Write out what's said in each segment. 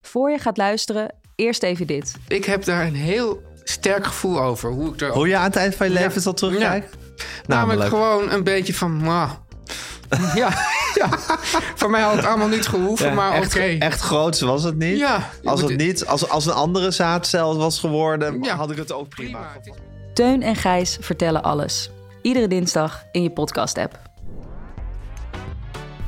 Voor je gaat luisteren, eerst even dit. Ik heb daar een heel sterk gevoel over. Hoe ik er Hoe je aan het eind van je leven Ja. zal terugkijken? namelijk Namelijk. gewoon een beetje van. "Mwah." ja, ja, voor mij had het allemaal niet gehoeven, Ja, maar oké. Eh, echt, echt groots was het niet. Ja, je als, moet- het niet als, als een andere zaadcel was geworden, Ja. had ik het ook prima. Het is- Teun en Gijs vertellen alles. Iedere dinsdag in je podcast-app.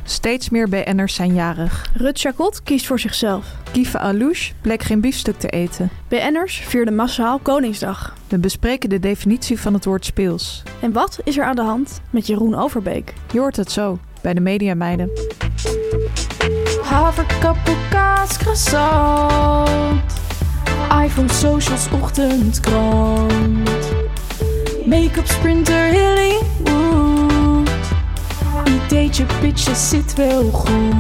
Steeds meer BN'ers zijn jarig. Rut Chacot kiest voor zichzelf. Kiva Alouche bleek geen biefstuk te eten. BN'ers vierden massaal Koningsdag. We bespreken de definitie van het woord speels. En wat is er aan de hand met Jeroen Overbeek? Je hoort het zo bij de Mediameiden. Haverkappel, kaas, croissant. iPhone, socials, ochtendkrant. Make-up, sprinter, Hillywood. Ideetje, pitje, zit wel goed.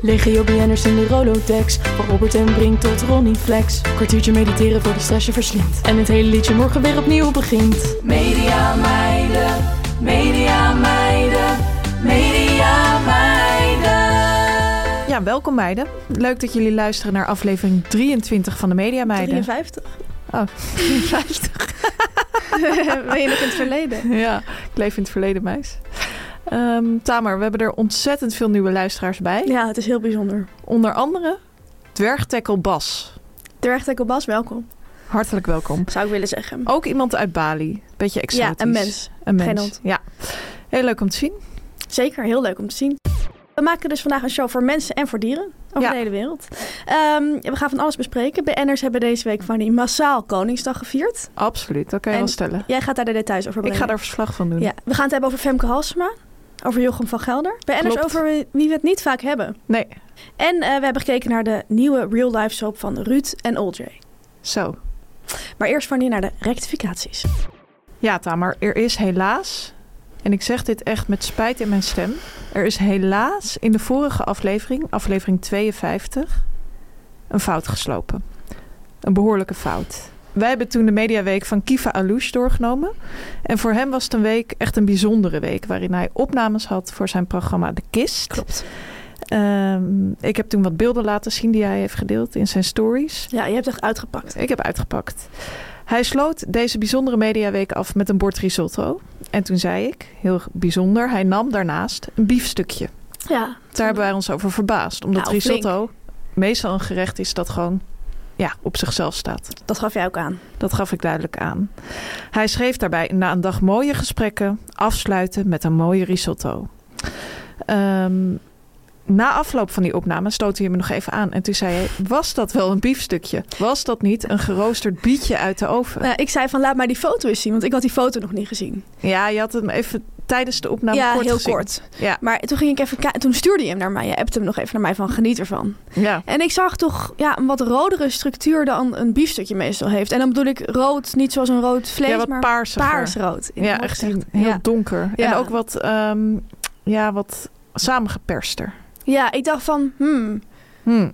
Legio BN'ers in de Rolodex. Van Robert en Brink tot Ronnie Flex. Kwartiertje mediteren voor de stress je verslindt. En het hele liedje morgen weer opnieuw begint. Media meiden, media meiden, media meiden. Ja, welkom meiden. Leuk dat jullie luisteren naar aflevering 23 van de Mediameiden. 53. Oh, 53. ben je nog in het verleden? Ja, ik leef in het verleden, meis. Ehm Tamer, we hebben er ontzettend veel nieuwe luisteraars bij. Ja, het is heel bijzonder. Onder andere dwergtekkel Bas. Dwergtekkel Bas, welkom. Hartelijk welkom. Zou ik willen zeggen. Ook iemand uit Bali. Beetje exotisch. ja, een mens. Een mens. Geen hond. Ja. Heel leuk om te zien. Zeker, heel leuk om te zien. We maken dus vandaag een show voor mensen en voor dieren. Over Ja. de hele wereld. Ehm, we gaan van alles bespreken. BN'ers hebben deze week van die massaal Koningsdag gevierd. Absoluut, dat kan je En- wel stellen. Jij gaat daar de details over Ik brengen. ga daar verslag van doen. Ja, we gaan het hebben over Femke Halsema. Over Jochem van Gelder. BN'ers Klopt. over wie we het niet vaak hebben. Nee, En eh, we hebben gekeken naar de nieuwe real-life soap van Ruud en Oljay. zo. Maar eerst van hier naar de rectificaties. Ja, Tamer, er is helaas, en ik zeg dit echt met spijt in mijn stem, er is helaas in de vorige aflevering, aflevering 52, een fout geslopen. Een behoorlijke fout. Wij hebben toen de mediaweek van Kiva Alouche doorgenomen. En voor hem was het een week echt een bijzondere week, waarin hij opnames had voor zijn programma De Kist. Klopt. Ehm, ik heb toen wat beelden laten zien die hij heeft gedeeld in zijn stories. Ja, je hebt echt uitgepakt. Ik heb uitgepakt. Hij sloot deze bijzondere mediaweek af met een bord risotto. En toen zei ik, heel bijzonder, hij nam daarnaast een biefstukje. Ja. Daar hebben wij ons over verbaasd. Omdat Nou, risotto meestal een gerecht is dat gewoon ja, op zichzelf staat. Dat gaf jij ook aan. Dat gaf ik duidelijk aan. Hij schreef daarbij na een dag mooie gesprekken afsluiten met een mooie risotto. Ehm, na afloop van die opname stootte hij me nog even aan. En toen zei hij, was dat wel een biefstukje? Was dat niet een geroosterd bietje uit de oven? Nou, ik zei van laat mij die foto eens zien, want ik had die foto nog niet gezien. Ja, je had hem even tijdens de opname ja, kort heel gezien. kort. Ja. Maar toen ging ik even kijken, toen stuurde je hem naar mij. Je appte hem nog even naar mij van geniet ervan. Ja. En ik zag toch ja, een wat rodere structuur dan een biefstukje meestal heeft. En dan bedoel ik rood, niet zoals een rood vlees, ja, wat maar paarsiger. paarsrood. in Ja, mijn echt gezicht. heel Ja. donker. En Ja. ook wat, ehm, ja, wat samengeperster. ja, ik dacht van, hmm, Hmm.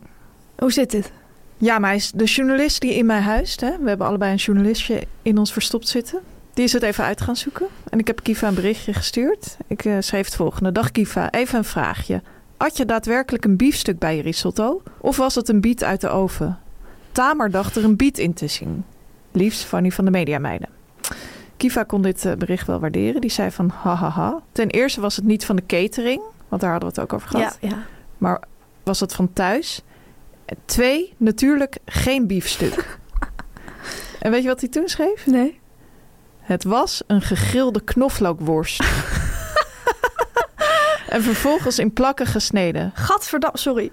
hoe zit dit? Ja, maar hij is de journalist die in mijn huis, hè, we hebben allebei een journalistje in ons verstopt zitten. Die is het even uit gaan zoeken. En ik heb Kiva een berichtje gestuurd. Ik eh, schreef het volgende. Dag Kiva, even een vraagje. Had je daadwerkelijk een biefstuk bij je risotto? Of was het een biet uit de oven? Tamer dacht er een biet in te zien. Liefst Fanny van de Mediameiden. Kiva kon dit eh, bericht wel waarderen. Die zei van hahaha. Ten eerste was het niet van de catering. Want daar hadden we het ook over gehad. Ja, ja. Maar was dat van thuis? En Twee, natuurlijk geen biefstuk. en weet je wat hij toen schreef? Nee. Het was een gegrilde knoflookworst. en vervolgens in plakken gesneden. Gadverdam, sorry.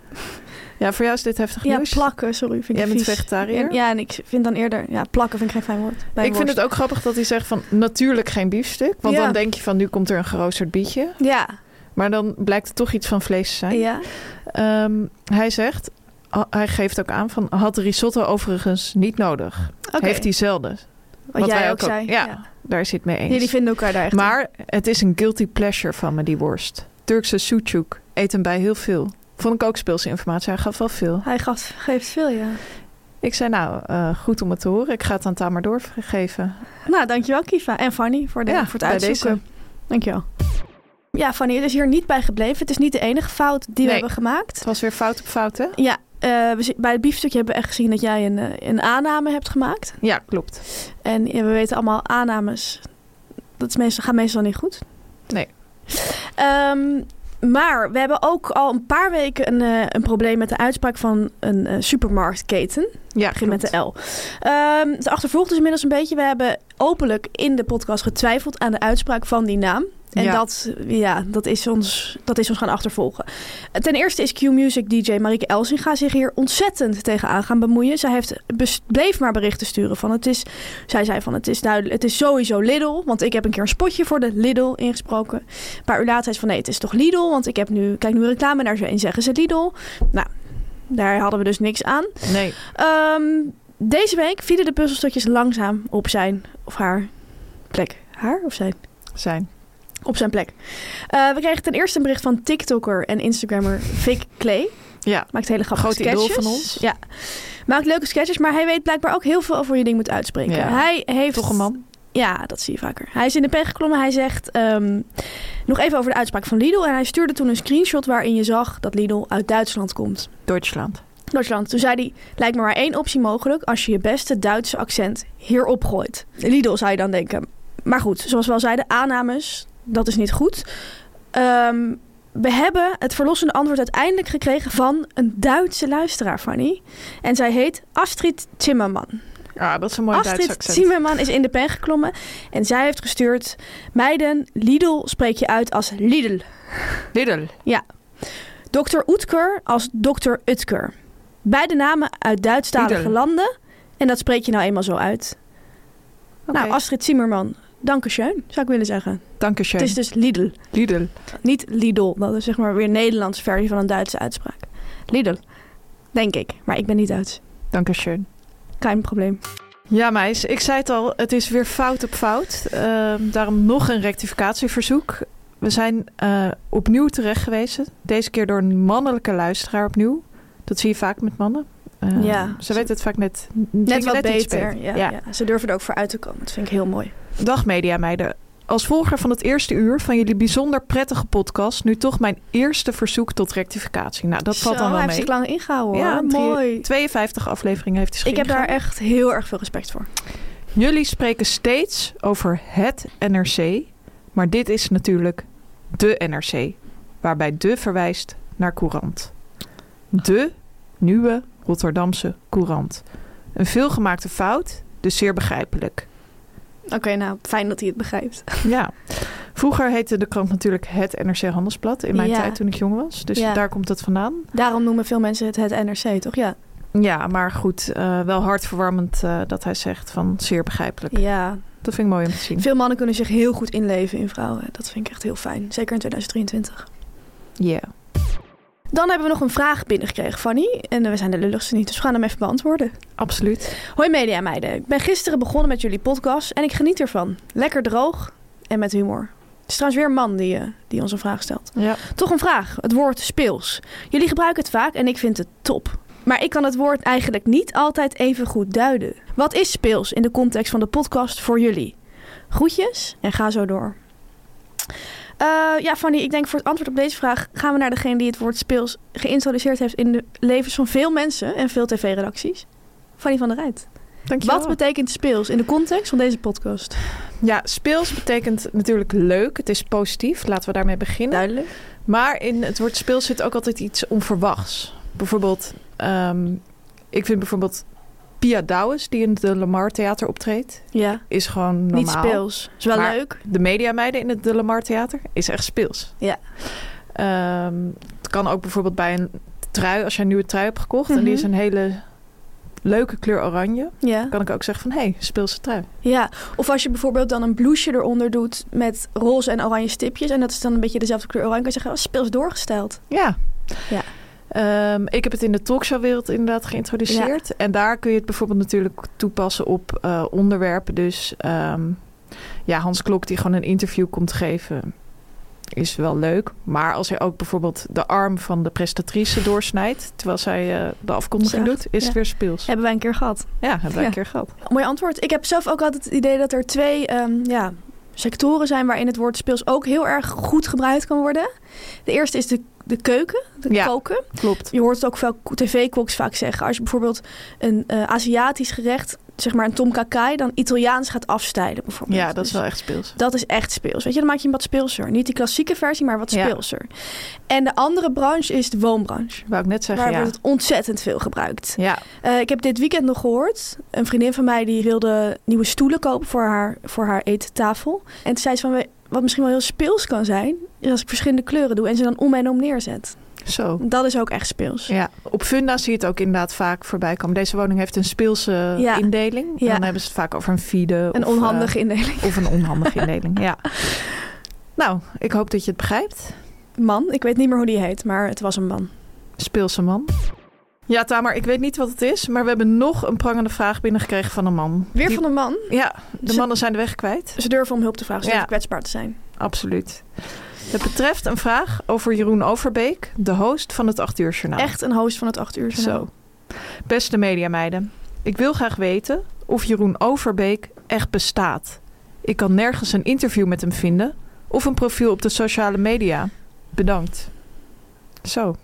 Ja, voor jou is dit heftig Ja, nieuws. plakken, sorry. Vind Jij ik bent vies. vegetariër? Ja, en ik vind dan eerder... Ja, plakken vind ik geen fijn woord. Bij ik vind worst. het ook grappig dat hij zegt van natuurlijk geen biefstuk. Want Ja. dan denk je van nu komt er een geroosterd bietje. Ja, Maar dan blijkt het toch iets van vlees te zijn. ja. Ehm, hij zegt, ha- hij geeft ook aan van had risotto overigens niet nodig. Oké. Heeft hij zelden. Wat, Wat jij wij ook, ook al- zei. ja. Daar zit mee eens. Jullie vinden elkaar daar echt maar het is een guilty pleasure van me, die worst. Turkse soetjoek. Eet hem bij heel veel. Vond ik ook speelse informatie. Hij gaf wel veel. in. Hij gaf- geeft veel, ja. Ik zei, nou, eh, goed om het te horen. Ik ga het aan Tamar doorgeven. Nou, dankjewel Kiva en Fanny voor, de, Ja, voor het bij uitzoeken. Dankjewel. Ja, Fanny, het is hier niet bij gebleven. Het is niet de enige fout die we Nee. hebben gemaakt. Het was weer fout op fout, hè? Ja, eh, we zi- bij het biefstukje hebben we echt gezien dat jij een, eh, een aanname hebt gemaakt. Ja, klopt. En ja, we weten allemaal aannames. Dat is meestal, gaat meestal niet goed. Nee. Ehm, maar we hebben ook al een paar weken een, eh, een probleem met de uitspraak van een eh, supermarktketen. Ja, begin met de L. Ehm het achtervolgt dus inmiddels een beetje. We hebben openlijk in de podcast getwijfeld aan de uitspraak van die naam. En Ja. dat, ja, dat, is ons, dat is ons gaan achtervolgen. Ten eerste is Q-Music DJ Marieke Elsinga zich hier ontzettend tegenaan gaan bemoeien. Zij heeft bes- bleef maar berichten sturen van het is... Zij zei van het is duidelijk, het is sowieso Lidl. Want ik heb een keer een spotje voor de Lidl ingesproken. Een paar uur later zei ze van nee, het is toch Lidl. Want ik heb nu, kijk nu reclame naar ze en zeggen ze Lidl. Nou, daar hadden we dus niks aan. Nee. Ehm, deze week vielen de puzzelstukjes langzaam op zijn of haar plek. Haar of zijn? Zijn. Op zijn plek. Eh, we kregen ten eerste een bericht van TikToker en Instagrammer Vic Clay. Ja. Maakt hele grappige Groot idool sketches. van ons. Ja. Maakt leuke sketches, maar hij weet blijkbaar ook heel veel over hoe je ding moet uitspreken. Ja. Hij heeft... Toch een man? Ja, dat zie je vaker. Hij is in de pen geklommen. Hij zegt ehm, nog even over de uitspraak van Lidl. En hij stuurde toen een screenshot waarin je zag dat Lidl uit Duitsland komt. Duitsland. Duitsland. Toen zei hij, lijkt me maar één optie mogelijk als je je beste Duitse accent hierop gooit. Lidl zou je dan denken. Maar goed, zoals we al zeiden, aannames, dat is niet goed. Ehm, we hebben het verlossende antwoord uiteindelijk gekregen van een Duitse luisteraar, Fanny. En zij heet Astrid Zimmerman. Ja, dat is een mooi Duits Astrid accent. Zimmerman is in de pen geklommen en zij heeft gestuurd... Meiden, Lidl spreek je uit als Lidl. Lidl. Dr. Oetker als Dr. Utker. Beide namen uit Duitsstalige Ieder. landen. En dat spreek je nou eenmaal zo uit. Nou, Astrid Zimmerman, dankeschön, zou ik willen zeggen. Dankeschön. Het is dus Lidl, Lidl. niet Lidl. Dat is zeg maar weer een Nederlandse versie van een Duitse uitspraak. Lidl, denk ik. Maar ik ben niet Duits. Dankeschön. Kein probleem. Ja, meis, ik zei het al, het is weer fout op fout. Ehm, daarom nog een rectificatieverzoek. We zijn eh, opnieuw terecht geweest. Deze keer door een mannelijke luisteraar opnieuw. Dat zie je vaak met mannen. Eh, Ja. Ze weten het vaak net, Net dingen wat iets beter. Ja, ja. Ze durven er ook voor uit te komen. Dat vind ik heel mooi. Dag mediameiden. Als volger van het eerste uur van jullie bijzonder prettige podcast... nu toch mijn eerste verzoek tot rectificatie. Nou, dat valt Zo, dan wel hij mee. heeft zich lang ingehouden. Ja, hoor. drie- mooi. 52 afleveringen heeft hij Ik heb geschreven. daar echt heel erg veel respect voor. Jullie spreken steeds over het NRC, maar dit is natuurlijk de NRC, waarbij de verwijst naar courant. De nieuwe Rotterdamse courant. Een veelgemaakte fout, dus zeer begrijpelijk. Oké, nou, fijn dat hij het begrijpt. Ja. Vroeger heette de krant natuurlijk het NRC Handelsblad in mijn Ja. tijd toen ik jong was. Dus Ja. daar komt dat vandaan. Daarom noemen veel mensen het het NRC, toch? Ja. Ja, maar goed, eh, wel hartverwarmend eh, dat hij zegt van zeer begrijpelijk. ja. Dat vind ik mooi om te zien. Veel mannen kunnen zich heel goed inleven in vrouwen. Dat vind ik echt heel fijn. Zeker in 2023. Yeah. Dan hebben we nog een vraag binnengekregen, Fanny. En eh, we zijn de lulligste niet, dus we gaan hem even beantwoorden. Absoluut. Hoi media meiden. Ik ben gisteren begonnen met jullie podcast en ik geniet ervan. Lekker droog en met humor. Het is trouwens weer een man die, eh, die ons een vraag stelt. Ja. Toch een vraag. Het woord speels. Jullie gebruiken het vaak en ik vind het top. Maar ik kan het woord eigenlijk niet altijd even goed duiden. Wat is speels in de context van de podcast voor jullie? Groetjes en ga zo door. Eh, ja, Fanny, ik denk voor het antwoord op deze vraag gaan we naar degene die het woord speels geïntroduceerd heeft in de levens van veel mensen en veel tv-redacties. Fanny van der Rijt. Dankjewel. Wat betekent speels in de context van deze podcast? Ja, speels betekent natuurlijk leuk. Het is positief. Laten we daarmee beginnen. Duidelijk. Maar in het woord speels zit ook altijd iets onverwachts. Bijvoorbeeld, ehm, ik vind bijvoorbeeld Pia Douwes, die in het De Lamar Theater optreedt, Ja, is gewoon normaal. niet speels. Is wel Maar- leuk. De mediameiden in het De Lamar Theater is echt speels. Ja. Ehm, het kan ook bijvoorbeeld bij een trui, als jij een nieuwe trui hebt gekocht en die Mhm. is een hele leuke kleur oranje, Ja. kan ik ook zeggen van hé, hey, speelse trui. ja. Of als je bijvoorbeeld dan een blouseje eronder doet met roze en oranje stipjes. En dat is dan een beetje dezelfde kleur oranje. Kan je zeggen, oh, speels doorgesteld. Ja. Ja. Ehm, ik heb het in de talkshowwereld inderdaad geïntroduceerd. En daar kun je het bijvoorbeeld natuurlijk toepassen op eh, onderwerpen. Dus ehm, ja, Hans Klok die gewoon een interview komt geven, is wel leuk. Maar als hij ook bijvoorbeeld de arm van de prestatrice doorsnijdt... terwijl zij eh, de afkondiging Zacht, doet, is ja. het weer speels. Ja, Hebben wij een keer gehad. hebben wij Ja. een keer gehad. Mooi antwoord. Ik heb zelf ook altijd het idee dat er twee ehm, ja, sectoren zijn waarin het woord speels ook heel erg goed gebruikt kan worden. De eerste is de, de keuken, de Ja. koken. Klopt. Je hoort het ook veel tv-koks vaak zeggen. Als je bijvoorbeeld een eh, Aziatisch gerecht, zeg maar een tom kakai, dan Italiaans gaat afstijden bijvoorbeeld. Ja, dat is Dus wel echt speels. dat is echt speels. Weet je, dan maak je hem wat speelser. Niet die klassieke versie, maar wat Ja. speelser. En de andere branche is de woonbranche. Wou ik net zeggen, Daar ja. wordt het ontzettend veel gebruikt. Ja, Eh, ik heb dit weekend nog gehoord. Een vriendin van mij die wilde nieuwe stoelen kopen voor haar, voor haar etentafel. En toen zei ze van, we- wat misschien wel heel speels kan zijn... is als ik verschillende kleuren doe en ze dan om en om neerzet. zo. Dat is ook echt speels. Ja, op Funda zie je het ook inderdaad vaak voorbij komen. Deze woning heeft een speelse Ja. indeling. En Ja. Dan hebben ze het vaak over een fide. Een of, onhandige indeling. eh, of een onhandige indeling, ja. Nou, ik hoop dat je het begrijpt. Man, ik weet niet meer hoe die heet, maar het was een man. Speelse man. Ja, Tamar, ik weet niet wat het is, maar we hebben nog een prangende vraag binnengekregen van een man. Weer Die- van een man. Ja, de Ze- mannen zijn de weg kwijt. Ze durven om hulp te vragen, ze Ja. durven kwetsbaar te zijn. Absoluut. Het betreft een vraag over Jeroen Overbeek, de host van het 8 uur journaal. Echt een host van het 8 uur journaal. Nou. Zo. Beste mediameiden, ik wil graag weten of Jeroen Overbeek echt bestaat. Ik kan nergens een interview met hem vinden of een profiel op de sociale media. Bedankt. Zo,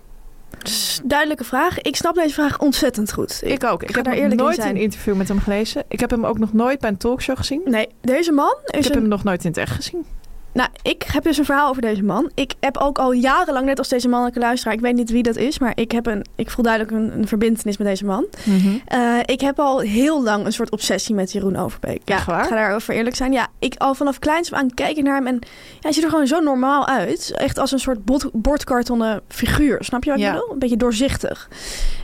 S- Duidelijke vraag. Ik snap deze vraag ontzettend goed. ik ook. Ik, ga heb daar nog eerlijk in nooit zijn. een interview met hem gelezen. Ik heb hem ook nog nooit bij een talkshow gezien. Nee, deze man Ik is heb een hem nog nooit in het echt gezien. Nou, ik heb dus een verhaal over deze man. Ik heb ook al jarenlang, net als deze mannelijke luisteraar, ik weet niet wie dat is, maar ik, heb een, ik voel duidelijk een, een verbindenis met deze man. Eh, ik heb al heel lang een soort obsessie met Jeroen Overbeek. Ja, Echt waar? Ik ga daarover eerlijk zijn. Ja, ik al vanaf kleins af aan kijk ik naar hem en ja, hij ziet er gewoon zo normaal uit. Echt als een soort bot, bordkartonnen figuur, snap je wat ik Ja. bedoel? Een beetje doorzichtig.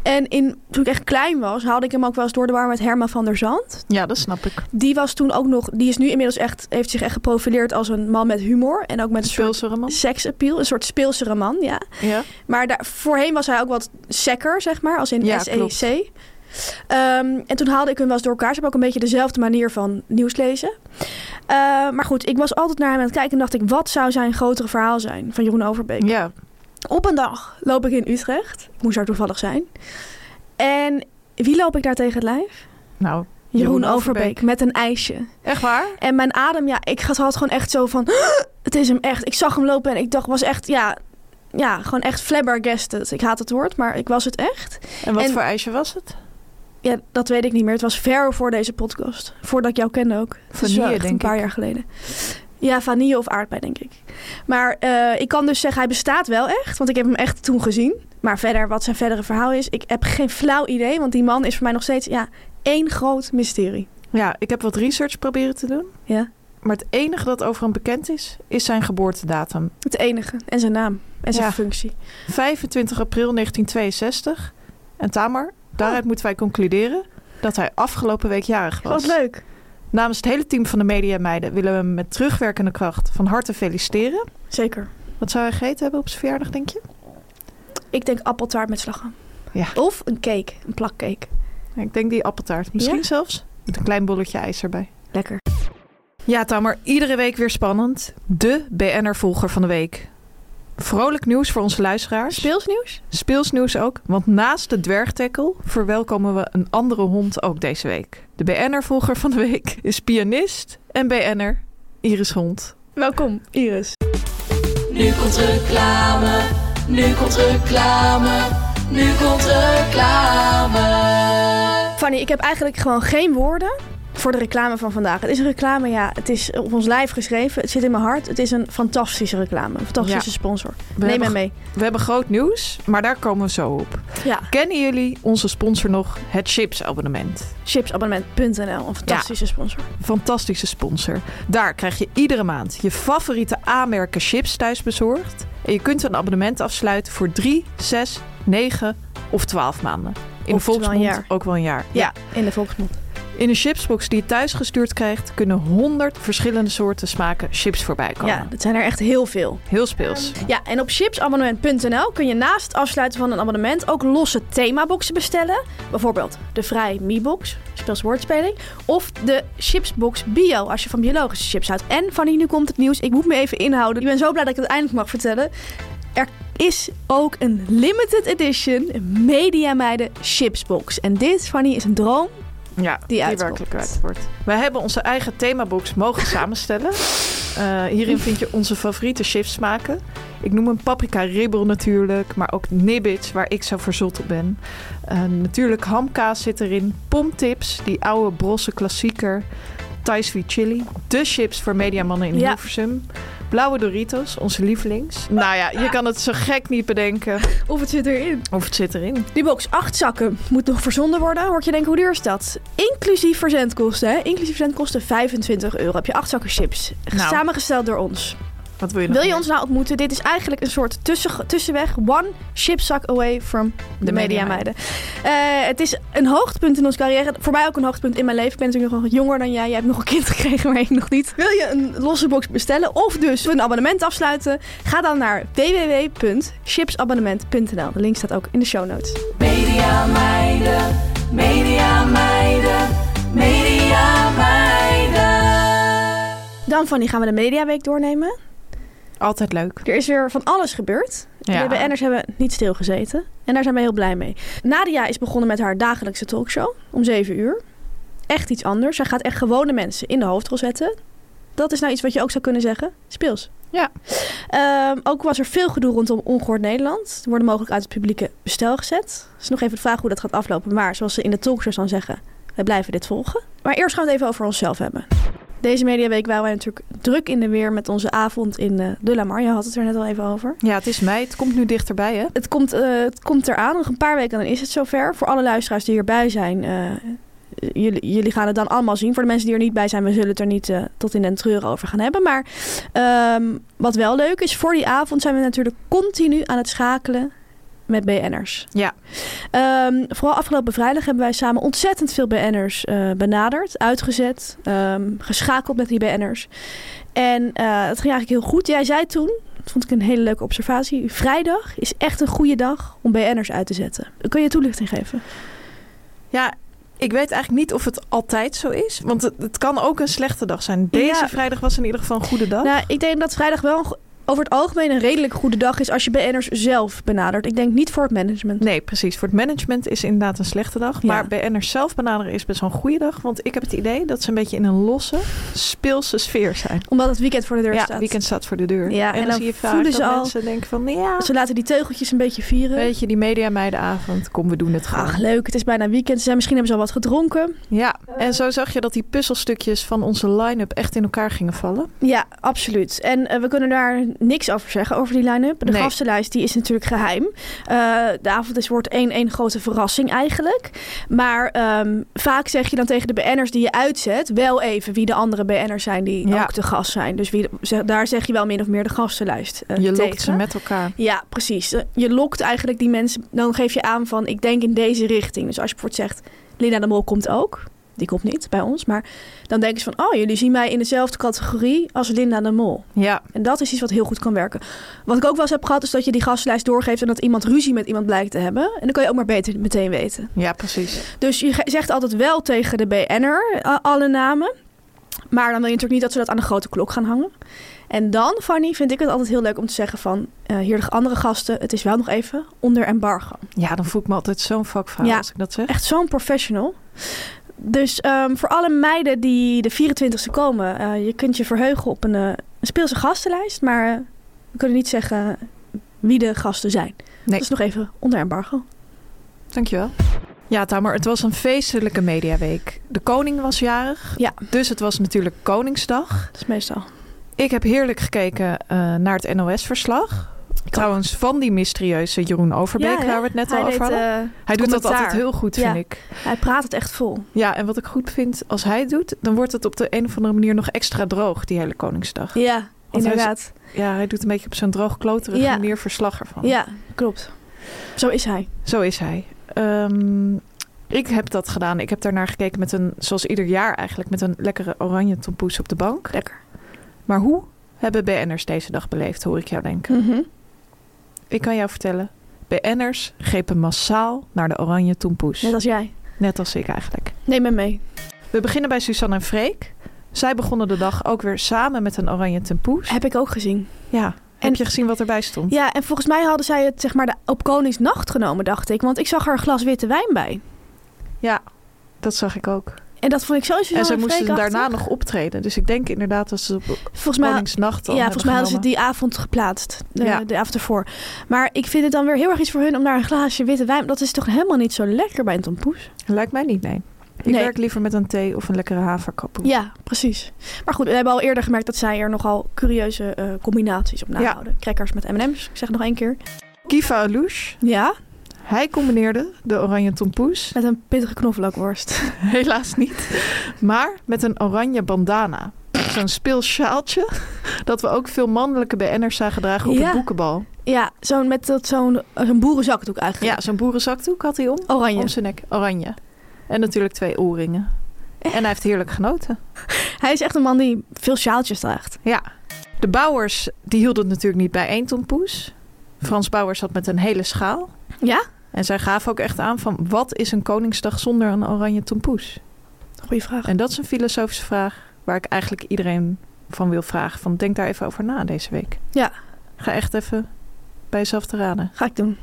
En in, toen ik echt klein was, haalde ik hem ook wel eens door de war met Herman van der Zand. Ja, dat snap ik. Die was toen ook nog, die is nu inmiddels echt, heeft zich echt geprofileerd als een man met humor. En ook met een soort Speelsere man. seksappeal, een soort speelsere man, ja. Ja. Maar daar, voorheen was hij ook wat sekker, zeg maar, als in Ja, SEC. Ehm, en toen haalde ik hem wel eens door elkaar. Ze hebben ook een beetje dezelfde manier van nieuws lezen. Eh, maar goed, ik was altijd naar hem aan het kijken en dacht ik... wat zou zijn grotere verhaal zijn van Jeroen Overbeek? Ja. Op een dag loop ik in Utrecht. Ik moest daar toevallig zijn. En wie loop ik daar tegen het lijf? Nou, Jeroen, Overbeek. met een ijsje. Echt waar? En mijn adem, ja, ik had had gewoon echt zo van... Het is hem echt. Ik zag hem lopen en ik dacht, was echt, ja... Ja, gewoon echt flabbergasted. Ik haat het woord, maar ik was het echt. En wat En- voor ijsje was het? Ja, dat weet ik niet meer. Het was ver voor deze podcast. Voordat ik jou kende ook. Het is wel Vanille, echt een denk paar ik. jaar geleden. Ja, vanille of aardbei, denk ik. Maar eh, ik kan dus zeggen, hij bestaat wel echt. Want ik heb hem echt toen gezien. Maar verder, wat zijn verdere verhaal is... Ik heb geen flauw idee, want die man is voor mij nog steeds... Ja, één groot mysterie. Ja, ik heb wat research proberen te doen. Ja. Maar het enige dat over hem bekend is, is zijn geboortedatum. Het enige. En zijn naam. En zijn Ja. functie. 25 april 1962. En Tamar, daaruit moeten wij concluderen dat hij afgelopen week jarig was. Wat leuk. Namens het hele team van de Media Meiden willen we hem met terugwerkende kracht van harte feliciteren. Zeker. Wat zou hij gegeten hebben op zijn verjaardag, denk je? Ik denk appeltaart met slagroom. Ja. Of een cake, een plakcake. Ik denk die appeltaart. Misschien Ja? zelfs met een klein bolletje ijs erbij. Lekker. Ja, Tamar, iedere week weer spannend. De BNR-volger van de week. Vrolijk nieuws voor onze luisteraars. Speelsnieuws? Speelsnieuws ook, want naast de dwergtekkel verwelkomen we een andere hond ook deze week. De BN'er-volger van de week is pianist en BN'er Iris Hond. Welkom, Iris. Nu komt reclame, nu komt reclame, nu komt reclame. Fanny, ik heb eigenlijk gewoon geen woorden voor de reclame van vandaag. Het is een reclame, ja. Het is op ons lijf geschreven. Het zit in mijn hart. Het is een fantastische reclame. Een fantastische Ja. sponsor. We Neem hebben hem mee. We hebben groot nieuws, maar daar komen we zo op. Ja. Kennen jullie onze sponsor nog, het Chips abonnement? Chipsabonnement.nl. Een fantastische sponsor. Fantastische sponsor. Daar krijg je iedere maand je favoriete aanmerken chips thuis bezorgd. En je kunt een abonnement afsluiten voor 3, 6, 9 of 12 maanden. In Oftewel de volksmond een jaar. ook wel een jaar. Ja, in de volksmond. In een chipsbox die je thuis gestuurd krijgt, kunnen 100 verschillende soorten smaken chips voorbij komen. Ja, dat zijn er echt heel veel. Heel speels. Ja, en op chipsabonnement.nl kun je naast het afsluiten van een abonnement ook losse themaboxen bestellen. Bijvoorbeeld de Vrij Mi-box, speels woordspeling. Of de Chipsbox Bio, als je van biologische chips houdt. En Fanny, nu komt het nieuws. Ik moet me even inhouden. Ik ben zo blij dat ik het eindelijk mag vertellen. Er is ook een limited edition Media Meiden Chipsbox. En dit, Fanny, is een droom. Ja, die, uitkomt. werkelijk kwijt wordt. Wij hebben onze eigen themabox mogen samenstellen. Eh, hierin vind je onze favoriete chips smaken. Ik noem een paprika ribbel natuurlijk, maar ook nibbits waar ik zo verzot op ben. Eh, natuurlijk hamkaas zit erin, pomtips, die oude brosse klassieker, Thai sweet chili, de chips voor mediamannen in Ja. Hilversum, blauwe Doritos, onze lievelings. Nou ja, je kan het zo gek niet bedenken Of het zit erin. of het zit erin. Die box, acht zakken, moet nog verzonden worden. Hoort je denken, hoe duur is dat? Inclusief verzendkosten, hè? Inclusief verzendkosten 25 euro. Heb je acht zakken chips. Nou. Samengesteld door ons. Wat wil je nog Wil je meer? ons nou ontmoeten? Dit is eigenlijk een soort tussen, tussenweg. One chipzak away from de media Media meiden. Eh, het is een hoogtepunt in onze carrière. Voor mij ook een hoogtepunt in mijn leven. Ik ben natuurlijk nog wat jonger dan jij. Jij hebt nog een kind gekregen, maar ik nog niet. Wil je een losse box bestellen of dus een abonnement afsluiten? Ga dan naar www.chipsabonnement.nl. De link staat ook in de show notes. Media meiden, media meiden, media meiden. Dan Fanny gaan we de mediaweek doornemen. Altijd leuk. Er is weer van alles gebeurd. De BN'ers hebben niet stilgezeten. En daar zijn we heel blij mee. Nadia is begonnen met haar dagelijkse talkshow om 7 uur. Echt iets anders. Zij gaat echt gewone mensen in de hoofdrol zetten. Dat is nou iets wat je ook zou kunnen zeggen. Speels. Ja. Ehm, ook was er veel gedoe rondom Ongehoord Nederland. Ze worden mogelijk uit het publieke bestel gezet. Dus nog even de vraag hoe dat gaat aflopen. Maar zoals ze in de talkshows dan zeggen, wij blijven dit volgen. Maar eerst gaan we het even over onszelf hebben. Deze mediaweek waren wij natuurlijk druk in de weer met onze avond in eh, De La Mar. Je had het er net al even over. Ja, het is mei. Het komt nu dichterbij, hè? Het komt, eh, het komt eraan. Nog een paar weken dan is het zover. Voor alle luisteraars die hierbij zijn. eh, jullie, jullie gaan het dan allemaal zien. Voor de mensen die er niet bij zijn, we zullen het er niet eh, tot in den treuren over gaan hebben. Maar ehm, wat wel leuk is, voor die avond zijn we natuurlijk continu aan het schakelen met BN'ers. Ja. Ehm, vooral afgelopen vrijdag hebben wij samen ontzettend veel BN'ers eh, benaderd, uitgezet, ehm, geschakeld met die BN'ers. En eh, het ging eigenlijk heel goed. Jij zei toen, dat vond ik een hele leuke observatie, vrijdag is echt een goede dag om BN'ers uit te zetten. Kun je toelichting geven? Ja, ik weet eigenlijk niet of het altijd zo is. Want het, het kan ook een slechte dag zijn. Deze Ja. vrijdag was in ieder geval een goede dag. Nou, ik denk dat vrijdag wel een go- over het algemeen een redelijk goede dag is als je BN'ers zelf benadert. Ik denk niet voor het management. Nee, precies. Voor het management is inderdaad een slechte dag. Ja. Maar BN'ers zelf benaderen is best wel een goede dag. Want ik heb het idee dat ze een beetje in een losse, speelse sfeer zijn. Omdat het weekend voor de deur ja, staat. weekend staat voor de deur. Ja, en, en dan, dan zie je vaak voelen ze dat al- mensen denken van... Ja, Ze laten die teugeltjes een beetje vieren. weet je, die media meidenavond. Kom, we doen het gewoon. Ach, leuk. Het is bijna weekend. Ze zijn, misschien hebben ze al wat gedronken. Ja, en zo zag je dat die puzzelstukjes van onze line-up echt in elkaar gingen vallen. Ja, absoluut. En eh, we kunnen daar niks over zeggen, over die line-up. De Nee. gastenlijst die is natuurlijk geheim. Eh, de avond is, wordt één, één grote verrassing eigenlijk. Maar ehm, vaak zeg je dan tegen de BN'ers die je uitzet... wel even wie de andere BN'ers zijn die Ja. ook te gast zijn. Dus wie, ze- daar zeg je wel min of meer de gastenlijst eh, Je tegen. lokt ze met elkaar. Ja, precies. Eh, Je lokt eigenlijk die mensen... Dan geef je aan van, ik denk in deze richting. Dus als je bijvoorbeeld zegt, Lina de Mol komt ook... Die komt niet bij ons, maar dan denken ze van... oh, jullie zien mij in dezelfde categorie als Linda de Mol. Ja, En dat is iets wat heel goed kan werken. Wat ik ook wel eens heb gehad, is dat je die gastenlijst doorgeeft... en dat iemand ruzie met iemand blijkt te hebben. En dan kan je ook maar beter meteen weten. ja precies. Dus je ge- zegt altijd wel tegen de BN'er a- alle namen. Maar dan wil je natuurlijk niet dat ze dat aan de grote klok gaan hangen. En dan, Fanny, vind ik het altijd heel leuk om te zeggen van... eh, hier de andere gasten, het is wel nog even onder embargo. Ja, dan voel ik me altijd zo'n vakvrouw Ja. Eh, als ik dat zeg. Echt zo'n professional. Dus ehm, voor alle meiden die de 24e komen... eh, je kunt je verheugen op een, eh, een speelse gastenlijst... maar eh, we kunnen niet zeggen dus- wie de gasten zijn. Dat is nog even onder embargo. Dankjewel. Ja, Tamer, het was een feestelijke mediaweek. De koning was jarig, Ja. dus het was natuurlijk Koningsdag. Dat is meestal. Ik heb heerlijk gekeken eh, naar het NOS-verslag. Trouwens, van die mysterieuze Jeroen Overbeek, Ja, hè? waar we het net Hij al over deed, hadden. eh, hij doet dat commentaar. altijd heel goed, vind Ja. ik. Hij praat het echt vol. Ja, en wat ik goed vind, als hij het doet, dan wordt het op de een of andere manier nog extra droog, die hele Koningsdag. Ja, Want hij is- inderdaad. Ja, hij doet een beetje op zo'n droog kloterige Ja. manier verslag ervan. Ja, klopt. Zo is hij. Zo is hij. Ehm, ik heb dat gedaan. Ik heb daarnaar gekeken met een, zoals ieder jaar eigenlijk, met een lekkere oranje tompoes op de bank. Lekker. Maar hoe hebben BN'ers deze dag beleefd, hoor ik jou denken. Ik kan jou vertellen, BN'ers grepen massaal naar de oranje tompoes. Net als jij. Net als ik eigenlijk. Neem hem mee. We beginnen bij Suzanne en Freek. Zij begonnen de dag ook weer samen met een oranje tompoes. Heb ik ook gezien. Ja, heb en- je gezien wat erbij stond? Ja, en volgens mij hadden zij het zeg maar de, op Koningsnacht genomen, dacht ik. Want ik zag er een glas witte wijn bij. Dat zag ik ook. En dat vond ik zo en Suzanne ze en moesten Freek daarna achtig. nog optreden. Dus ik denk inderdaad dat ze op Volgens mij, Koningsnacht al ja, hebben volgens mij hadden ze genomen. die avond geplaatst. De, Ja. de avond ervoor. Maar ik vind het dan weer heel erg iets voor hun om naar een glaasje witte wijn... Dat is toch helemaal niet zo lekker bij een tompoes? Lijkt mij niet, nee. Ik Nee. werk liever met een thee of een lekkere haverkapoe. Ja, precies. Maar goed, we hebben al eerder gemerkt dat zij er nogal curieuze eh, combinaties op nahouden. Crackers met M&M's, ik zeg het nog één keer. Kiva Alouche, Ja, hij combineerde de oranje tompoes, met een pittige knoflookworst. helaas niet, maar met een oranje bandana. Zo'n speelsjaaltje dat we ook veel mannelijke BN'ers zagen dragen op Ja. het boekenbal. ja, zo'n met dat zo'n eh, zo'n boerenzakdoek eigenlijk. Ja, zo'n boerenzakdoek had hij om. Oranje. Om zijn nek, oranje. En natuurlijk twee oorringen. En hij heeft heerlijk genoten. Hij is echt een man die veel sjaaltjes draagt. Ja. De bouwers, die hielden het natuurlijk niet bij één tompoes. Frans Bouwers had met een hele schaal. Ja? En zij gaven ook echt aan van wat is een Koningsdag zonder een oranje tompoes? Goeie vraag. En dat is een filosofische vraag waar ik eigenlijk iedereen van wil vragen. Van denk daar even over na deze week. Ja. Ga echt even bij jezelf te raden. Ga ik doen.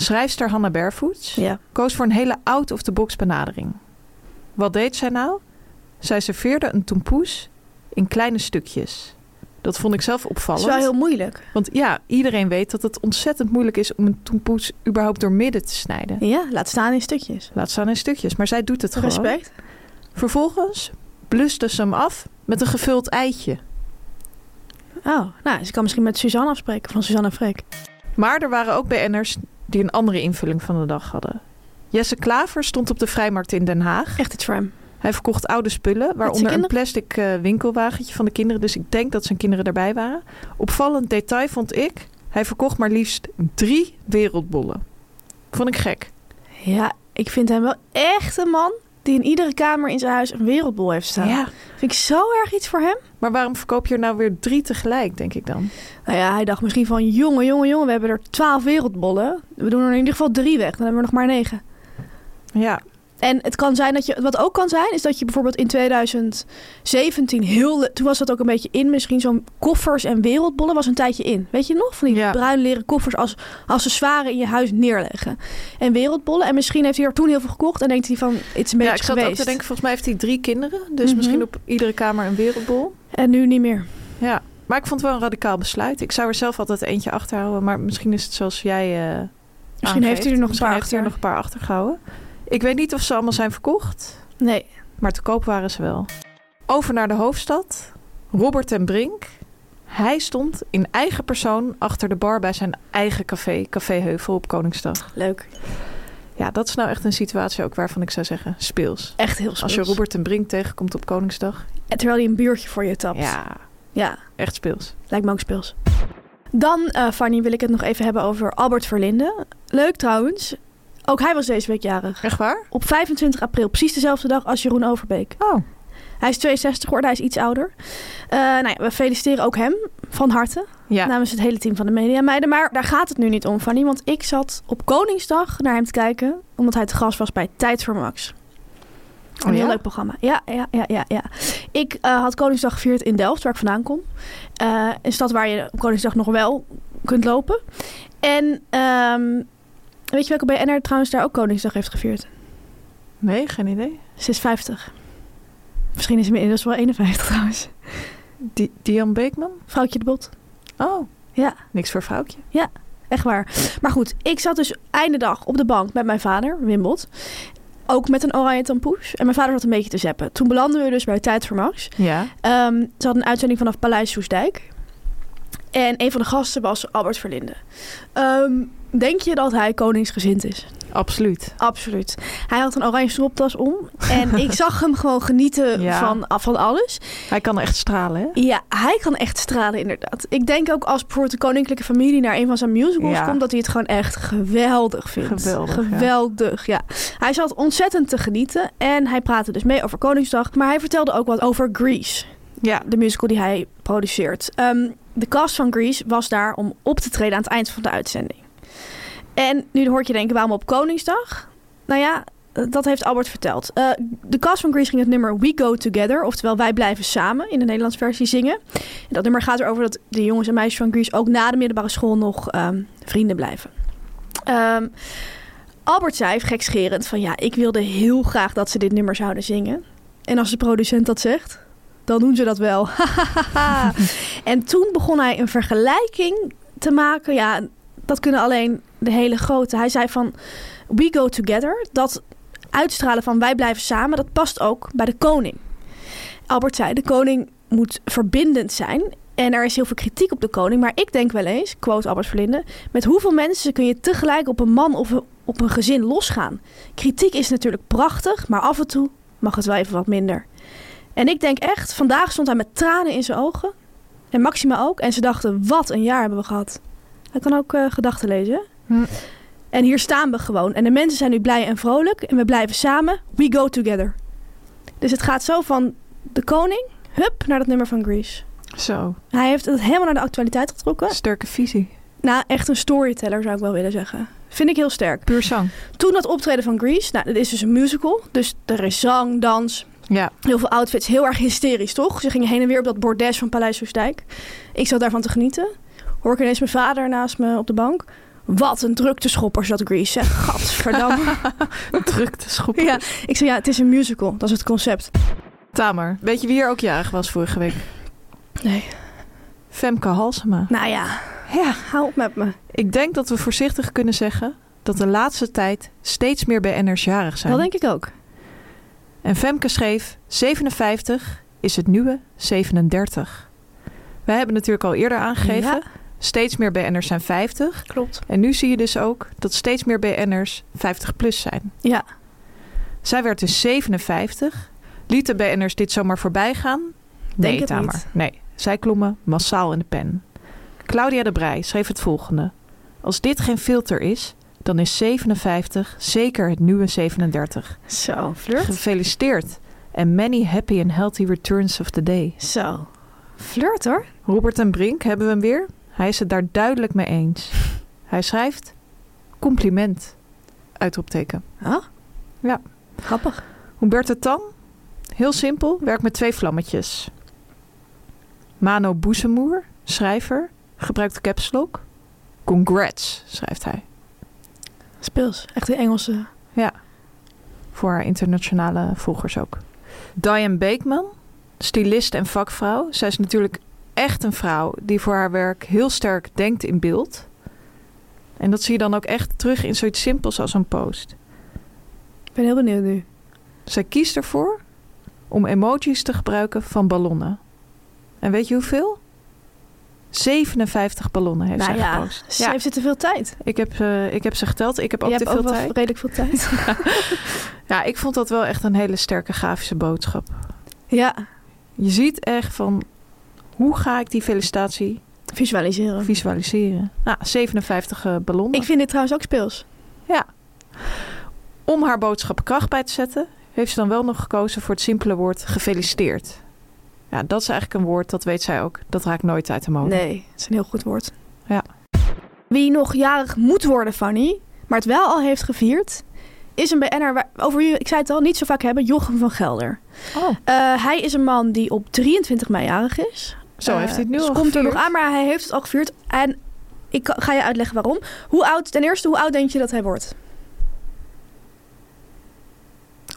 Schrijfster Hannah Barefoots Ja. koos voor een hele out-of-the-box benadering. Wat deed zij nou? Zij serveerde een tompoes in kleine stukjes. Dat vond ik zelf Dat opvallend. is wel heel moeilijk. Want ja, iedereen weet dat het ontzettend moeilijk is om een tompoes überhaupt door midden te snijden. Ja, laat staan in stukjes. Laat staan in stukjes, maar zij doet het gewoon. Respect. Vervolgens bluste ze hem af met een gevuld eitje. Oh, nou, ze kan misschien met Suzanne afspreken van Suzanne en Freek. Maar er waren ook BN'ers die een andere invulling van de dag hadden. Jesse Klaver stond op de vrijmarkt in Den Haag. Echt iets voor hem. Hij verkocht oude spullen, waaronder een kinderen? plastic eh, winkelwagentje van de kinderen. Dus ik denk dat zijn kinderen daarbij waren. Opvallend detail vond ik, hij verkocht maar liefst drie wereldbollen. Vond ik gek. Ja, ik vind hem wel echt een man die in iedere kamer in zijn huis een wereldbol heeft staan. Vind ik zo erg iets voor hem. Maar waarom verkoop je er nou weer drie tegelijk, denk ik dan? Nou ja, hij dacht misschien van, jongen, jongen, jongen, we hebben er twaalf wereldbollen. We doen er in ieder geval drie weg, dan hebben we nog maar negen. Ja, En het kan zijn dat je, wat ook kan zijn, is dat je bijvoorbeeld in 2017 heel, le- toen was dat ook een beetje in, misschien zo'n koffers en wereldbollen was een tijdje in. Weet je nog? Van die Ja. bruin leren koffers als accessoire in je huis neerleggen. En wereldbollen. En misschien heeft hij er toen heel veel gekocht en denkt hij van, het is een beetje ja ik zat geweest. ook te denken, volgens mij heeft hij drie kinderen. Dus Mhm. misschien op iedere kamer een wereldbol. En nu niet meer. Ja, maar ik vond het wel een radicaal besluit. Ik zou er zelf altijd eentje achterhouden. Maar misschien is het zoals jij eh, aangeeft. heeft hij er nog een Misschien paar heeft hij er achter. nog een paar achtergehouden. Ik weet niet of ze allemaal zijn verkocht. Nee. Maar te koop waren ze wel. Over naar de hoofdstad. Robert en Brink. Hij stond in eigen persoon achter de bar bij zijn eigen café. Café Heuvel op Koningsdag. Leuk. Ja, dat is nou echt een situatie ook waarvan ik zou zeggen speels. Echt heel Als speels. je Robert en Brink tegenkomt op Koningsdag. En terwijl hij een biertje voor je tapt. Ja, Ja, echt speels. lijkt me ook speels. Dan, eh, Fanny, wil ik het nog even hebben over Albert Verlinde. Leuk trouwens. Ook hij was deze week jarig. Echt waar? Op 25 april, precies dezelfde dag als Jeroen Overbeek. Oh. Hij is 62 geworden, hij is iets ouder. Eh, nou ja, we feliciteren ook hem van harte. Ja. Namens het hele team van de Media Meiden. Maar daar gaat het nu niet om, Fanny. Want ik zat op Koningsdag naar hem te kijken. Omdat hij te gast was bij Tijd voor Max. Oh, Een heel leuk programma. Ja, ja, ja, ja. ja. Ik eh, had Koningsdag gevierd in Delft, waar ik vandaan kom. Eh, een stad waar je op Koningsdag nog wel kunt lopen. En ehm, weet je welke BNR trouwens daar ook Koningsdag heeft gevierd? Nee, geen idee. Ze is 50. Misschien is ze inmiddels wel 51 trouwens. Di Diane Beekman? Vrouwtje de Bot. Oh. Ja. Niks voor vrouwtje. Echt waar. Maar goed, ik zat dus einde dag op de bank met mijn vader, Wimbot. Ook met een oranje tampoes. En mijn vader zat een beetje te zeppen. Toen belanden we dus bij Tijd voor Max. Ja. Ehm, ze hadden een uitzending vanaf Paleis Soestdijk. En een van de gasten was Albert Verlinde. Ehm, denk je dat hij koningsgezind is? Absoluut. Absoluut. Hij had een oranje stropdas om. En ik zag hem gewoon genieten Ja. van, van alles. Hij kan echt stralen, hè? Ja, hij kan echt stralen inderdaad. Ik denk ook als bijvoorbeeld de koninklijke familie naar een van zijn musicals Ja. komt... dat hij het gewoon echt geweldig vindt. Geweldig, ja. Geweldig, ja. Hij zat ontzettend te genieten. En hij praatte dus mee over Koningsdag. Maar hij vertelde ook wat over Grease. Ja. de musical die hij produceert. Ehm, de cast van Grease was daar om op te treden aan het eind van de uitzending. En nu hoort je denken, waarom op Koningsdag? Nou ja, eh, dat heeft Albert verteld. Eh, de cast van Grease ging het nummer We Go Together, oftewel Wij Blijven Samen, in de Nederlandse versie zingen. En dat nummer gaat erover dat de jongens en meisjes van Grease ook na de middelbare school nog ehm, vrienden blijven. Ehm, Albert zei, gekscherend, van ja, ik wilde heel graag dat ze dit nummer zouden zingen. En als de producent dat zegt, dan doen ze dat wel. en toen begon hij een vergelijking te maken. Ja, dat kunnen alleen de hele grote. Hij zei van, we go together. Dat uitstralen van wij blijven samen, dat past ook bij de koning. Albert zei, de koning moet verbindend zijn. En er is heel veel kritiek op de koning. Maar ik denk wel eens, quote Albert Verlinde... met hoeveel mensen kun je tegelijk op een man of op een gezin losgaan? Kritiek is natuurlijk prachtig, maar af en toe mag het wel even wat minder. En ik denk echt, vandaag stond hij met tranen in zijn ogen. En Maxima ook. En ze dachten, wat een jaar hebben we gehad. Hij kan ook eh, gedachten lezen. hè? Hm. En hier staan we gewoon. En de mensen zijn nu blij en vrolijk. En we blijven samen. We go together. Dus het gaat zo van de koning, hup, naar dat nummer van Grease. Zo. Hij heeft het helemaal naar de actualiteit getrokken. Ah. Sterke visie. Nou, echt een storyteller zou ik wel willen zeggen. Vind ik heel sterk. Puur zang. Toen dat optreden van Grease, nou, dat is dus een musical. Dus er is zang, dans, Ja. heel veel outfits. Heel erg hysterisch, toch? Ze gingen heen en weer op dat bordes van Paleis Soestdijk. Ik zat daarvan te genieten. Hoor ik ineens mijn vader naast me op de bank. Wat een drukte schoppers dat Grease, zeg. Gadverdamme. Drukte schoppen. ja, ik zei, ja, het is een musical. Dat is het concept. Tamer. Weet je wie er ook jarig was vorige week? Nee. Femke Halsema. Nou ja, Ja. hou op met me. Ik denk dat we voorzichtig kunnen zeggen dat de laatste tijd steeds meer BN'ers jarig zijn. Dat denk ik ook. En Femke schreef, 57 is het nieuwe 37. Wij hebben natuurlijk al eerder aangegeven, Ja, steeds meer BN'ers zijn 50. klopt. En nu zie je dus ook dat steeds meer BN'ers 50 plus zijn. Ja. Zij werd dus 57. Liet de BN'ers dit zomaar voorbij gaan? Nee, het Tamer. niet. Nee, zij klommen massaal in de pen. Claudia de Brij schreef het volgende. Als dit geen filter is, dan is 57 zeker het nieuwe 37. Zo, flirt. Gefeliciteerd. En many happy and healthy returns of the day. Zo. Flirt hoor. Robert en Brink hebben we hem weer. Hij is het daar duidelijk mee eens. Hij schrijft: compliment. Uitroepteken. Huh? Ja. Grappig. Humberto Tan, heel simpel, werkt met twee vlammetjes. Mano Boezemoer, schrijver, gebruikt caps lock. Congrats, schrijft hij, Speels. Echt een Engelse. voor haar internationale volgers ook. Diane Beekman, stylist en vakvrouw. Zij is natuurlijk echt een vrouw die voor haar werk heel sterk denkt in beeld. En dat zie je dan ook echt terug in zoiets simpels als een post. Ik ben heel benieuwd nu. Zij kiest ervoor om emojis te gebruiken van ballonnen. En weet je hoeveel? 57 ballonnen heeft nou zij ja, gepost. ze Ja, heeft er te veel tijd. ik, heb, eh, ik heb ze geteld. Ik heb ook Je te hebt veel ook wel tijd. redelijk veel tijd. Ja, ik vond dat wel echt een hele sterke grafische boodschap. ja, Je ziet echt van hoe ga ik die felicitatie visualiseren. visualiseren. Nou, 57 eh, ballonnen. Ik vind dit trouwens ook speels. Om haar boodschap kracht bij te zetten, heeft ze dan wel nog gekozen voor het simpele woord gefeliciteerd. Ja, dat is eigenlijk een woord, dat weet zij ook. Dat raakt nooit uit de mode. Nee, het is een heel goed woord. Oh. Ja. Wie nog jarig moet worden, Fanny, maar het wel al heeft gevierd, is een BN'er waar- over wie we- ik zei het al, niet zo vaak hebben, Jochem van Gelder. Oh, Eh, hij is een man die op 23 mei jarig is. zo Eh, heeft hij het nu dus al komt er nog gevierd. aan, maar hij heeft het al gevierd. En ik ka- ga je uitleggen waarom. Hoe oud, ten eerste, hoe oud denk je dat hij wordt?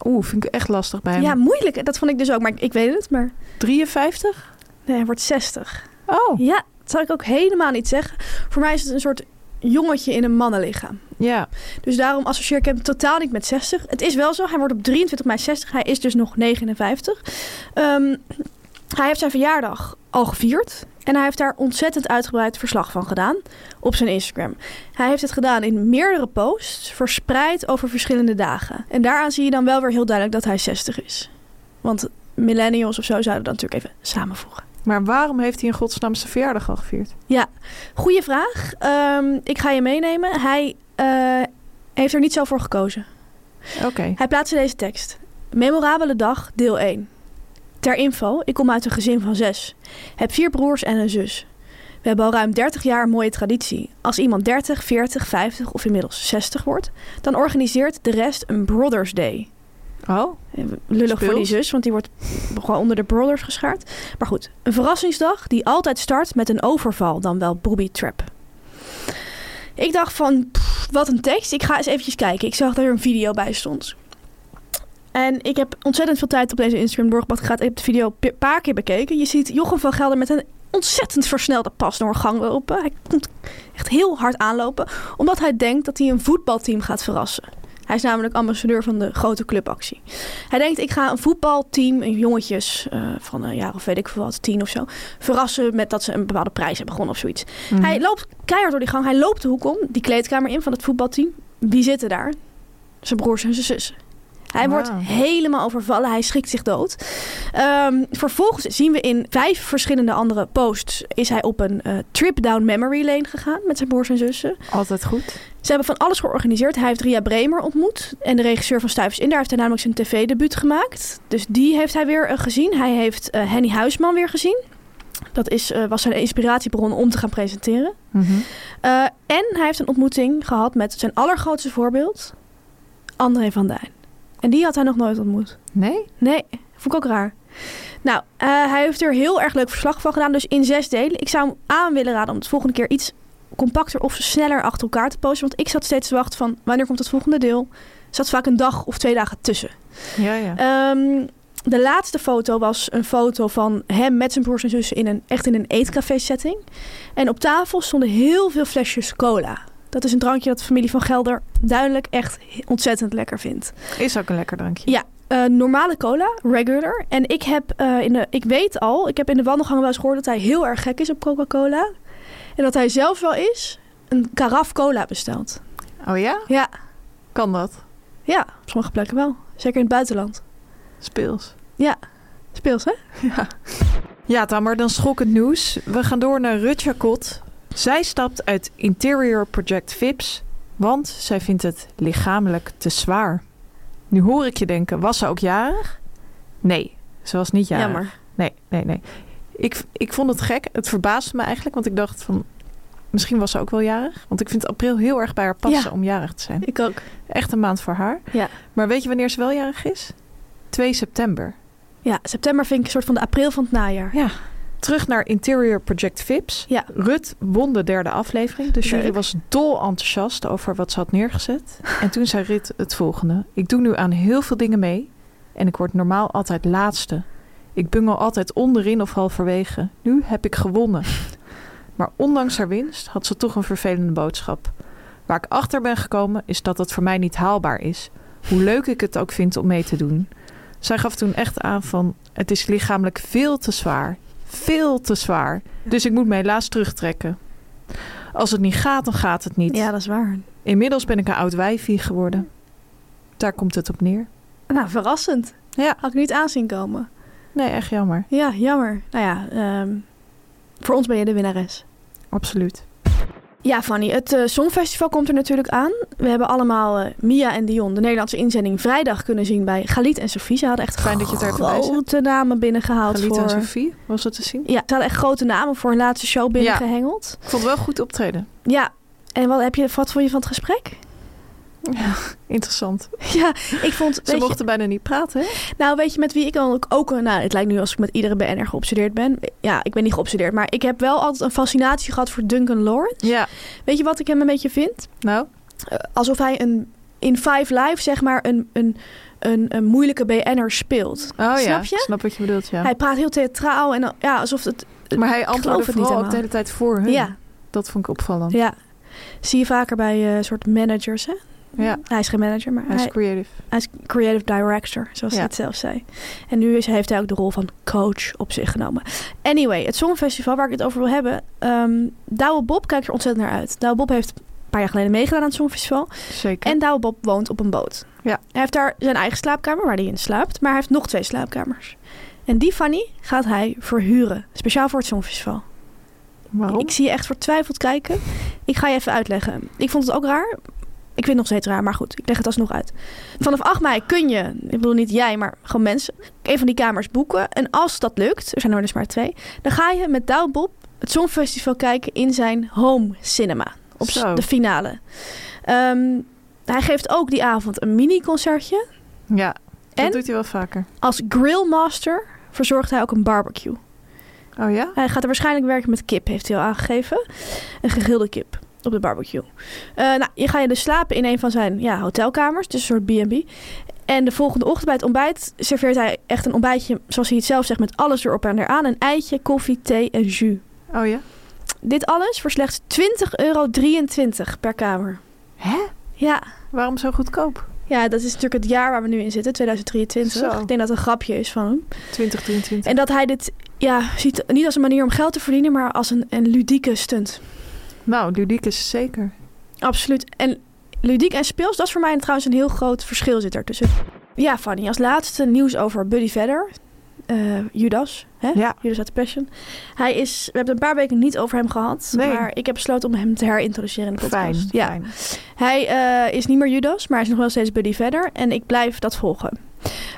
Oeh, vind ik echt lastig bij hem. Ja, moeilijk. Dat vond ik dus ook, maar ik, ik weet het. Maar 53? nee, hij wordt 60. Oh, Ja, dat zal ik ook helemaal niet zeggen. Voor mij is het een soort jongetje in een mannenlichaam. Ja, Dus daarom associeer ik hem totaal niet met 60. Het is wel zo, hij wordt op 23 mei 60. Hij is dus nog 59. Ehm, hij heeft zijn verjaardag al gevierd. En hij heeft daar ontzettend uitgebreid verslag van gedaan op zijn Instagram. Hij heeft het gedaan in meerdere posts, verspreid over verschillende dagen. En daaraan zie je dan wel weer heel duidelijk dat hij 60 is. Want millennials of zo zouden dat natuurlijk even samenvoegen. maar waarom heeft hij in godsnaam zijn verjaardag al gevierd? Goeie vraag. Ehm, ik ga je meenemen. Hij eh, heeft er niet zo voor gekozen. Oké. Hij plaatste deze tekst. Memorabele dag, deel 1. Ter info, ik kom uit een gezin van zes. Heb vier broers en een zus. We hebben al ruim 30 jaar een mooie traditie. Als iemand 30, 40, 50 of inmiddels 60 wordt, dan organiseert de rest een Brothers Day. Oh, Eh, Lullig voor die Speels. zus, want die wordt gewoon onder de brothers geschaard. Maar goed, een verrassingsdag die altijd start met een overval, dan wel booby trap. Ik dacht van, pff, wat een tekst. Ik ga eens eventjes kijken. Ik zag dat er een video bij stond. En ik heb ontzettend veel tijd op deze Instagram doorgebracht. gehad. Ik heb de video een pe- paar keer bekeken. Je ziet Jochem van Gelder met een ontzettend versnelde pas door een gang lopen. Hij komt echt heel hard aanlopen, omdat hij denkt dat hij een voetbalteam gaat verrassen. Hij is namelijk ambassadeur van de grote clubactie. Hij denkt, ik ga een voetbalteam, een jongetjes eh, van een jaar of weet ik veel wat, tien of zo, verrassen met dat ze een bepaalde prijs hebben gewonnen of zoiets. Hij loopt keihard door die gang, hij loopt de hoek om, die kleedkamer in van het voetbalteam. Wie zitten daar? Zijn broers en zijn zussen. Hij Wauw. wordt helemaal overvallen, hij schrikt zich dood. Ehm, vervolgens zien we in vijf verschillende andere posts... is hij op een eh, trip down memory lane gegaan met zijn broers en zussen. altijd goed. Ze hebben van alles georganiseerd. Hij heeft Ria Bremer ontmoet en de regisseur van Stuivers in. Daar heeft hij namelijk zijn tv-debuut gemaakt. Dus die heeft hij weer eh, gezien. Hij heeft eh, Henny Huisman weer gezien. Dat is, eh, was zijn inspiratiebron om te gaan presenteren. Mhm. Eh, en hij heeft een ontmoeting gehad met zijn allergrootste voorbeeld, André van Duin. En die had hij nog nooit ontmoet. Nee? Nee, vond ik ook raar. Nou, eh, hij heeft er heel erg leuk verslag van gedaan, dus in zes delen. Ik zou hem aan willen raden om het volgende keer iets compacter of sneller achter elkaar te posten. Want ik zat steeds te wachten van wanneer komt het volgende deel. Er zat vaak een dag of twee dagen tussen. Ja, ja. Ehm, de laatste foto was een foto van hem met zijn broers en zussen in een, echt in een eetcafé setting. En op tafel stonden heel veel flesjes cola. Dat is een drankje dat de familie van Gelder duidelijk echt ontzettend lekker vindt. Is ook een lekker drankje. Ja, eh, normale cola, regular. En ik heb eh, in de, ik weet al, ik heb in de wandelgang wel eens gehoord dat hij heel erg gek is op Coca-Cola. En dat hij zelf wel is een karaf cola bestelt. Oh ja? Ja, Kan dat? ja, op sommige plekken wel. Zeker in het buitenland. Speels. Speels, hè? Ja, Tamer, dan schokkend nieuws. We gaan door naar Rutja Kot. Zij stapt uit Interior Project Vips, want zij vindt het lichamelijk te zwaar. Nu hoor ik je denken, was ze ook jarig? Nee, ze was niet jarig. Jammer. Nee, nee, nee. Ik, ik vond het gek. Het verbaasde me eigenlijk, want ik dacht van... Misschien was ze ook wel jarig. Want ik vind april heel erg bij haar passen Ja. om jarig te zijn. Ik ook. Echt een maand voor haar. Ja. Maar weet je wanneer ze wel jarig is? 2 september. Ja, september vind ik een soort van de april van het najaar. Ja. Terug naar Interior Project Vips. Ja. Rut won de derde aflevering. De jury Leuk. was dol enthousiast over wat ze had neergezet. En toen zei Rut het volgende. Ik doe nu aan heel veel dingen mee. En ik word normaal altijd laatste. Ik bungel altijd onderin of halverwege. Nu heb ik gewonnen. Maar ondanks haar winst had ze toch een vervelende boodschap. Waar ik achter ben gekomen is dat dat voor mij niet haalbaar is. Hoe leuk ik het ook vind om mee te doen. Zij gaf toen echt aan van... het is lichamelijk veel te zwaar. Veel te zwaar. Dus ik moet me helaas terugtrekken. Als het niet gaat, dan gaat het niet. Ja, dat is waar. Inmiddels ben ik een oud wijfie geworden. Daar komt het op neer. Nou, verrassend. Ja. Had ik niet aanzien komen. Nee, echt jammer. Ja, jammer. Nou ja, ehm, voor ons ben je de winnares. Absoluut. Ja, Fanny, het eh, Songfestival komt er natuurlijk aan. We hebben allemaal eh, Mia en Dion, de Nederlandse inzending, vrijdag kunnen zien bij Galit en Sofie. Ze hadden echt Fijn dat je het er even bij zegt. grote namen binnengehaald. Galit voor... en Sophie, was dat te zien? Ja, ze hadden echt grote namen voor hun laatste show binnengehengeld. Ik vond het wel goed optreden. Ja. En wat, heb je, wat vond je van het gesprek? Interessant. Ja, ik vond... Ze weet je- mochten bijna niet praten, hè? Nou, weet je met wie ik dan ook, ook... Nou, het lijkt nu alsof ik met iedere BNR geobsedeerd ben. Ja, ik ben niet geobsedeerd. Maar ik heb wel altijd een fascinatie gehad voor Duncan Lawrence. Ja. Weet je wat ik hem een beetje vind? Nou, eh, alsof hij een, in Five Live zeg maar een, een, een, een moeilijke BN'er speelt. oh Snap ja. je? Snap wat je bedoelt, ja. Hij praat heel theatraal en dan- ja, alsof het... maar hij geloof antwoordde het niet vooral ook de helemaal. hele tijd voor hun. Ja, Dat vond ik opvallend. ja. Zie je vaker bij eh soort managers, hè? Ja, Hij is geen manager, maar hij is hij, creative. hij is creative director, zoals Ja. hij het zelf zei. En nu is, heeft hij ook de rol van coach op zich genomen. Anyway, het Songfestival waar ik het over wil hebben. ehm Douwe Bob kijkt er ontzettend naar uit. Douwe Bob heeft een paar jaar geleden meegedaan aan het Songfestival. Zeker. En Douwe Bob woont op een boot. Ja. Hij heeft daar zijn eigen slaapkamer waar hij in slaapt. Maar hij heeft nog twee slaapkamers. En die Fanny gaat hij verhuren. Speciaal voor het Songfestival. Waarom? Ik zie je echt vertwijfeld kijken. Ik ga je even uitleggen. Ik vond het ook raar. Ik vind het nog steeds raar, maar goed, ik leg het alsnog uit. Vanaf 8 mei kun je, ik bedoel niet jij, maar gewoon mensen, een van die kamers boeken. En als dat lukt, er zijn er dus maar twee, dan ga je met Douwe Bob het Songfestival kijken in zijn home cinema. Op s- Zo. de finale. Ehm, hij geeft ook die avond een mini-concertje. Ja, En? dat doet hij wel vaker. Als grillmaster verzorgt hij ook een barbecue. Oh ja? Hij gaat er waarschijnlijk werken met kip, heeft hij al aangegeven. Een gegrilde kip op de barbecue. Eh, nou, je ga je dus slapen in een van zijn ja, hotelkamers, dus een soort B&B. En de volgende ochtend bij het ontbijt serveert hij echt een ontbijtje, zoals hij het zelf zegt, met alles erop en eraan. Een eitje, koffie, thee en jus. Oh ja? Dit alles voor slechts 20,23 euro per kamer. Hè? Ja. Waarom zo goedkoop? ja, dat is natuurlijk het jaar waar we nu in zitten, 2023. Zo. Ik denk dat het een grapje is van hem. 2023. En dat hij dit ja, ziet niet als een manier om geld te verdienen, maar als een, een ludieke stunt. Nou, ludiek is zeker. Absoluut. En ludiek en speels, dat is voor mij trouwens een heel groot verschil zit ertussen. Ja, Fanny, als laatste nieuws over Buddy Vedder. Eh, Judas, hè? Ja. Judas uit de Passion. Hij is, we hebben het een paar weken niet over hem gehad. Nee. Maar ik heb besloten om hem te herintroduceren in de Fijn. podcast. ja. fijn. Hij eh, is niet meer Judas, maar hij is nog wel steeds Buddy verder. En ik blijf dat volgen.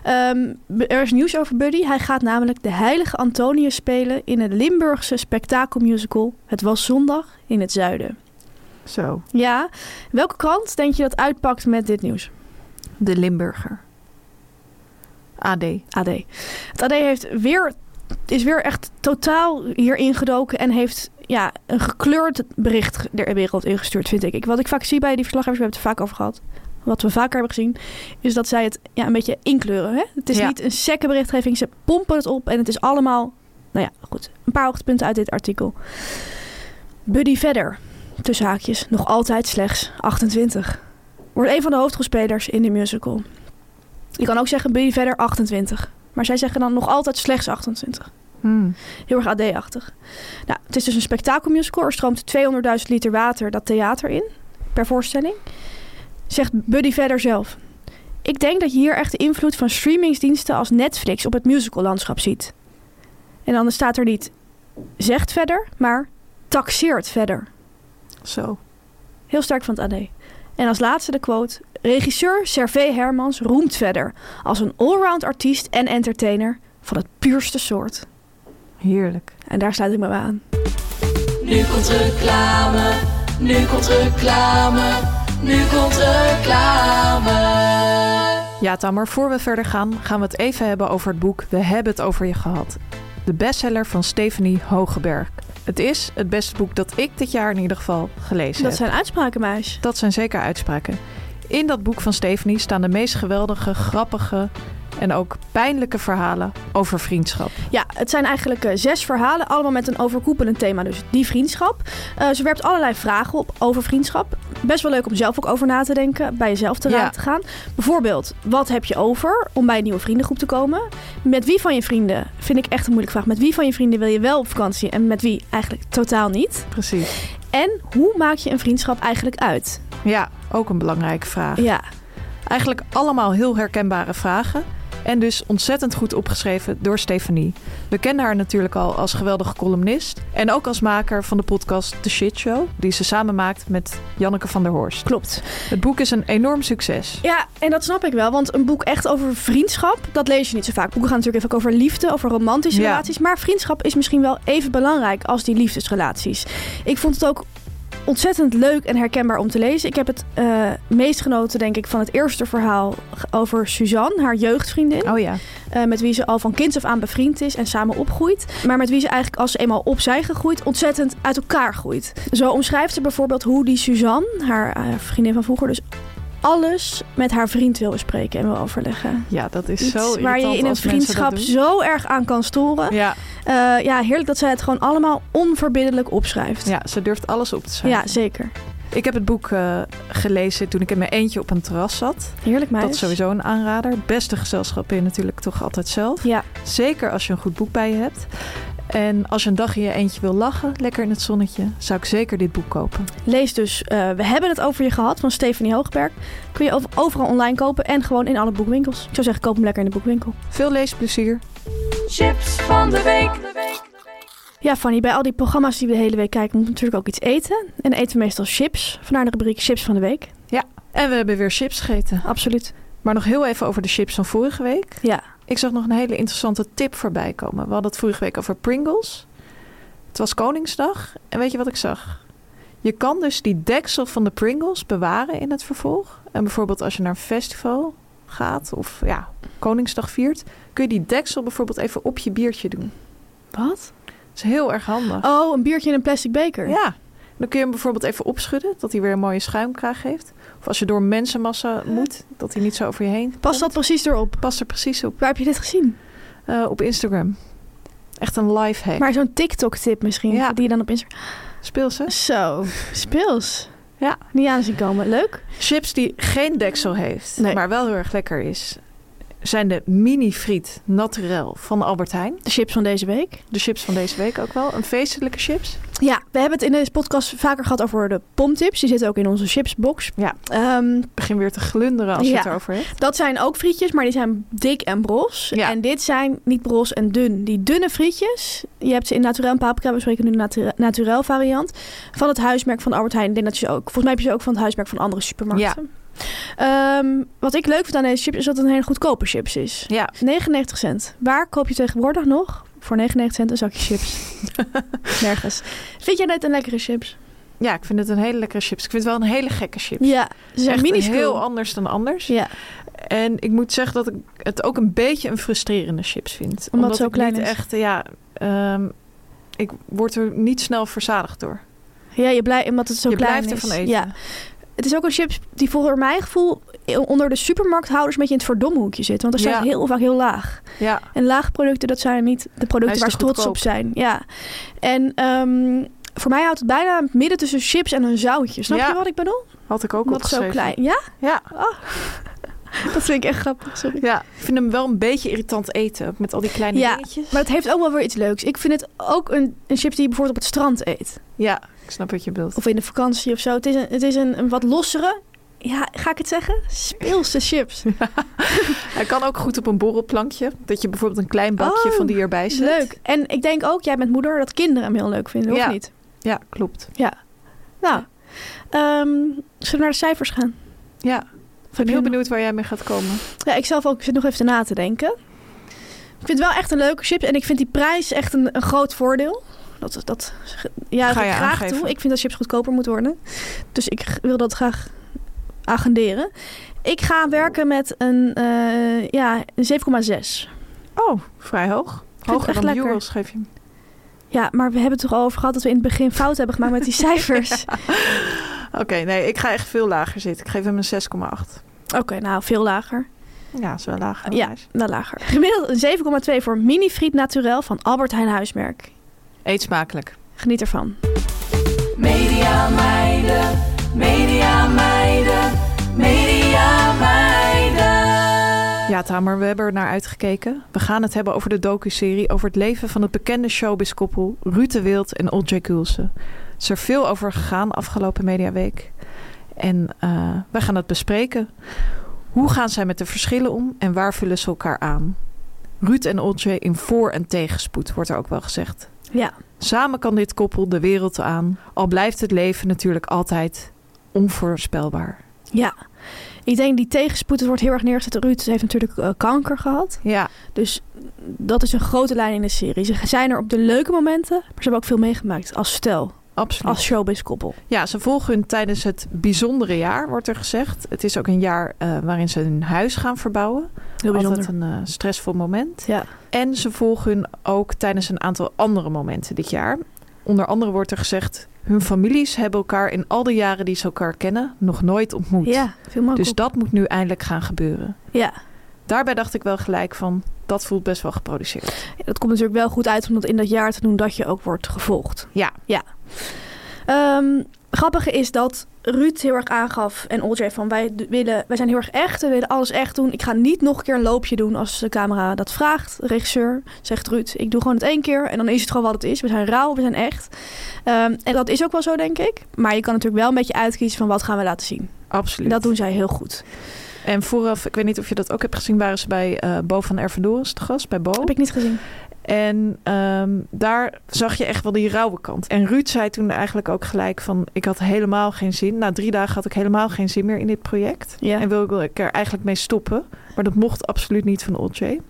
Ehm, er is nieuws over Buddy. Hij gaat namelijk de heilige Antonius spelen in het Limburgse spektakelmusical Het was zondag in het zuiden. Zo, Ja, welke krant denk je dat uitpakt met dit nieuws? de Limburger. AD. AD. Het AD heeft weer, is weer echt totaal hier ingedoken en heeft ja, een gekleurd bericht de wereld ingestuurd, vind ik. ik. Wat ik vaak zie bij die verslaggevers, we hebben het er vaak over gehad. Wat we vaker hebben gezien, is dat zij het ja, een beetje inkleuren. Hè? Het is Ja. niet een sekke berichtgeving, ze pompen het op en het is allemaal... Nou ja, goed. Een paar hoogtepunten uit dit artikel. Buddy verder, tussen haakjes, nog altijd slechts 28. Wordt een van de hoofdrolspelers in de musical. Je kan ook zeggen Buddy verder 28. Maar zij zeggen dan nog altijd slechts 28. Hmm. Heel erg AD-achtig. Nou, het is dus een spektakelmusical. Er stroomt 200.000 liter water dat theater in. Per voorstelling. Zegt Buddy verder zelf. Ik denk dat je hier echt de invloed van streamingsdiensten als Netflix op het musicallandschap ziet. En dan staat er niet zegt verder, maar taxeert verder. Zo. Heel sterk van het AD. En als laatste de quote. Regisseur Servé Hermans roemt verder als een allround artiest en entertainer van het puurste soort. Heerlijk. En daar sluit ik me bij aan. Nu komt reclame, nu komt reclame, nu komt reclame. Ja, Tamer, voor we verder gaan, gaan we het even hebben over het boek We hebben het over je gehad. De bestseller van Stephanie Hogeberg. Het is het beste boek dat ik dit jaar in ieder geval gelezen Dat heb. zijn uitspraken, meis. Dat zijn zeker uitspraken. In dat boek van Stephanie staan de meest geweldige, grappige en ook pijnlijke verhalen over vriendschap. Ja, het zijn eigenlijk eh, zes verhalen, allemaal met een overkoepelend thema. Dus die vriendschap. Eh, ze werpt allerlei vragen op over vriendschap. Best wel leuk om zelf ook over na te denken, bij jezelf te Ja. raad te gaan. Bijvoorbeeld, wat heb je over om bij een nieuwe vriendengroep te komen? Met wie van je vrienden, vind ik echt een moeilijke vraag, met wie van je vrienden wil je wel op vakantie en met wie eigenlijk totaal niet? Precies. En hoe maak je een vriendschap eigenlijk uit? Ja, ook een belangrijke vraag. Ja, Eigenlijk allemaal heel herkenbare vragen. En dus ontzettend goed opgeschreven door Stefanie. We kennen haar natuurlijk al als geweldige columnist. En ook als maker van de podcast The Shit Show. Die ze samen maakt met Janneke van der Horst. klopt. Het boek is een enorm succes. Ja, en dat snap ik wel. Want een boek echt over vriendschap, dat lees je niet zo vaak. Boeken gaan natuurlijk even over liefde, over romantische Ja. relaties. Maar vriendschap is misschien wel even belangrijk als die liefdesrelaties. Ik vond het ook ontzettend leuk en herkenbaar om te lezen. Ik heb het eh, meest genoten, denk ik, van het eerste verhaal over Suzanne, haar jeugdvriendin. Oh ja. Eh, met wie ze al van kinds af aan bevriend is en samen opgroeit. Maar met wie ze eigenlijk als ze eenmaal op zijn gegroeid, ontzettend uit elkaar groeit. Zo omschrijft ze bijvoorbeeld hoe die Suzanne, haar eh, vriendin van vroeger, dus alles met haar vriend wil bespreken en wil overleggen. Ja, dat is Iets zo irritant waar je in een als mensen dat vriendschap doen. zo erg aan kan storen. Ja, Eh, ja, heerlijk dat zij het gewoon allemaal onverbiddelijk opschrijft. ja, ze durft alles op te zijn. Ja, zeker. Ik heb het boek eh, gelezen toen ik in mijn eentje op een terras zat. Heerlijk meisje. Dat is sowieso een aanrader. Beste gezelschap ben je natuurlijk toch altijd zelf. Ja, Zeker als je een goed boek bij je hebt. En als je een dag in je eentje wil lachen, lekker in het zonnetje, zou ik zeker dit boek kopen. lees dus. eh, we hebben het over je gehad van Stephanie Hoogberg. Kun je over- overal online kopen en gewoon in alle boekwinkels. Ik zou zeggen, koop hem lekker in de boekwinkel. Veel leesplezier. Chips van de week. Ja, Fanny, bij al die programma's die we de hele week kijken, moet natuurlijk ook iets eten. En dan eten we meestal chips. Vandaar de rubriek Chips van de Week. En we hebben weer chips gegeten. Absoluut. Maar nog heel even over de chips van vorige week. Ja. Ik zag nog een hele interessante tip voorbij komen. We hadden het vorige week over Pringles. Het was Koningsdag. En weet je wat ik zag? Je kan dus die deksel van de Pringles bewaren in het vervolg. En bijvoorbeeld als je naar een festival gaat of ja, Koningsdag viert, kun je die deksel bijvoorbeeld even op je biertje doen. Wat? Dat is heel erg handig. Oh, een biertje in een plastic beker. Ja. Dan kun je hem bijvoorbeeld even opschudden, dat hij weer een mooie schuimkraag heeft. Of als je door mensenmassa moet, dat hij niet zo over je heen Past dat precies erop? past er precies op. Waar heb je dit gezien? Eh, op Instagram. Echt een live hack. Maar zo'n TikTok-tip misschien, Ja. die je dan op Instagram... Speel ze. Zo, speels. Ja. Niet aan zien komen. Leuk. Chips die geen deksel heeft, Nee. maar wel heel erg lekker is, zijn de mini friet naturel van Albert Heijn. De chips van deze week. De chips van deze week ook wel. Een feestelijke chips. Ja, we hebben het in deze podcast vaker gehad over de pomtips. Die zitten ook in onze chipsbox. Ja. Ehm, Ik begin weer te glunderen als je Ja. het erover hebt. dat zijn ook frietjes, maar die zijn dik en bros. Ja. En dit zijn niet bros en dun. Die dunne frietjes, je hebt ze in naturel en paprika. We spreken nu de natura- naturel variant. Van het huismerk van Albert Heijn. Ik denk dat je ze ook, volgens mij heb je ze ook van het huismerk van andere supermarkten. Ehm, wat ik leuk vind aan deze chips is dat het een hele goedkope chips is. Ja. 99 cent. Waar koop je tegenwoordig nog voor 99 cent een zakje chips? Nergens. Vind jij dit een lekkere chips? Ja, ik vind het een hele lekkere chips. Ik vind het wel een hele gekke chips. Ja, ze zijn Echt minuscuul. heel anders dan anders. Ja, En ik moet zeggen dat ik het ook een beetje een frustrerende chips vind. Omdat, het zo ik klein niet is. echt, ja, ehm, ik word er niet snel verzadigd door. ja je blij, omdat het zo je klein blijft is. ervan eten. Ja, Het is ook een chips die voor mijn gevoel onder de supermarkthouders een beetje in het verdomhoekje zit. Want er staat Ja. heel vaak heel laag. ja. En laag producten, dat zijn niet de Hij producten is waar te ze trots op goedkoop. zijn. Ja. En ehm, voor mij houdt het bijna midden tussen chips en een zoutje. Snap Ja. je wat ik bedoel? Had ik ook Omdat het zo opgeschreven. klein. Ja, Ja. dat vind ik echt grappig. Sorry. ja, Oh. ik vind hem wel een beetje irritant eten. ook Met al die kleine Ja, dingetjes. Maar het heeft ook wel weer iets leuks. Ik vind het ook een, een chips die je bijvoorbeeld op het strand eet. Ja, ik snap wat je bedoelt. Of in de vakantie of zo. Het is een, het is een, een wat lossere, ja, ga ik het zeggen? Speelse chips. Hij kan ook goed op een borrelplankje. Dat je bijvoorbeeld een klein bakje Oh, van die erbij zet. Leuk. En ik denk ook, jij bent moeder, dat kinderen hem heel leuk vinden, Ja. of niet? Ja, klopt. Nou, ehm, zullen we naar de cijfers gaan? Ja. Ik ben je heel nog- benieuwd waar jij mee gaat komen. Ja, ik zelf ook ik zit nog even na te denken. Ik vind het wel echt een leuke chip en ik vind die prijs echt een, een groot voordeel. Dat, dat ja, Ga ik je graag aangeven. toe. Ik vind dat chips goedkoper moeten worden. Dus ik g- wil dat graag agenderen. Ik ga werken met een, eh, ja, een 7,6. Oh, vrij hoog. het Hoger echt dan lekker. Euros geef je hem. Ja, maar we hebben het toch al over gehad dat we in het begin fout hebben gemaakt met die cijfers. Oké, nee, ik ga echt veel lager zitten. Ik geef hem een 6,8. Oké, nou, veel lager. Ja, dat is wel lager. Ja. Meis. Nou, lager. Gemiddeld een 7,2 voor mini friet naturel van Albert Heijn Huismerk. Eet smakelijk. Geniet ervan. Media meiden, media meiden, media meiden. Ja, Tamer, we hebben er naar uitgekeken. We gaan het hebben over de docu-serie over het leven van het bekende showbizkoppel Ruud de Wild en Olcay Kulsen. Er is er veel over gegaan afgelopen mediaweek. En eh, wij gaan het bespreken. Hoe gaan zij met de verschillen om en waar vullen ze elkaar aan? Ruud en Olcay in voor- en tegenspoed, wordt er ook wel gezegd. Ja. Samen kan dit koppel de wereld aan, al blijft het leven natuurlijk altijd onvoorspelbaar. Ja. Ik denk die tegenspoed, het wordt heel erg neergezet. Ruud heeft natuurlijk eh, kanker gehad. Ja, Dus dat is een grote lijn in de serie. Ze zijn er op de leuke momenten, maar ze hebben ook veel meegemaakt. Als stel, absoluut. als showbizkoppel. Ja, ze volgen hun tijdens het bijzondere jaar, wordt er gezegd. Het is ook een jaar eh, waarin ze hun huis gaan verbouwen. Heel bijzonder. Altijd een eh, stressvol moment. Ja. En ze volgen hun ook tijdens een aantal andere momenten dit jaar. Onder andere wordt er gezegd... hun families hebben elkaar in al de jaren die ze elkaar kennen nog nooit ontmoet. Ja, oh, veel makkelijk. Dus dat moet nu eindelijk gaan gebeuren. Ja. Daarbij dacht ik wel gelijk van... dat voelt best wel geproduceerd. Dat komt natuurlijk wel goed uit om dat in dat jaar te doen dat je ook wordt gevolgd. Ja. ja. Ehm, grappige is dat Ruud heel erg aangaf en Olcay van wij, d- willen, wij zijn heel erg echt, we willen alles echt doen. Ik ga niet nog een keer een loopje doen als de camera dat vraagt. De regisseur zegt Ruud, ik doe gewoon het één keer en dan is het gewoon wat het is. We zijn rauw, we zijn echt. Ehm, en dat is ook wel zo, denk ik. Maar je kan natuurlijk wel een beetje uitkiezen van wat gaan we laten zien. En Absoluut. dat doen zij heel goed. En vooraf, ik weet niet of je dat ook hebt gezien, waren ze bij eh, Bo van Ervedorens te gast, bij Bo. Heb ik niet gezien. En ehm, daar zag je echt wel die rauwe kant. En Ruud zei toen eigenlijk ook gelijk van... ik had helemaal geen zin. Na drie dagen had ik helemaal geen zin meer in dit project. Ja. En wilde ik er eigenlijk mee stoppen. Maar dat mocht absoluut niet van Olcay.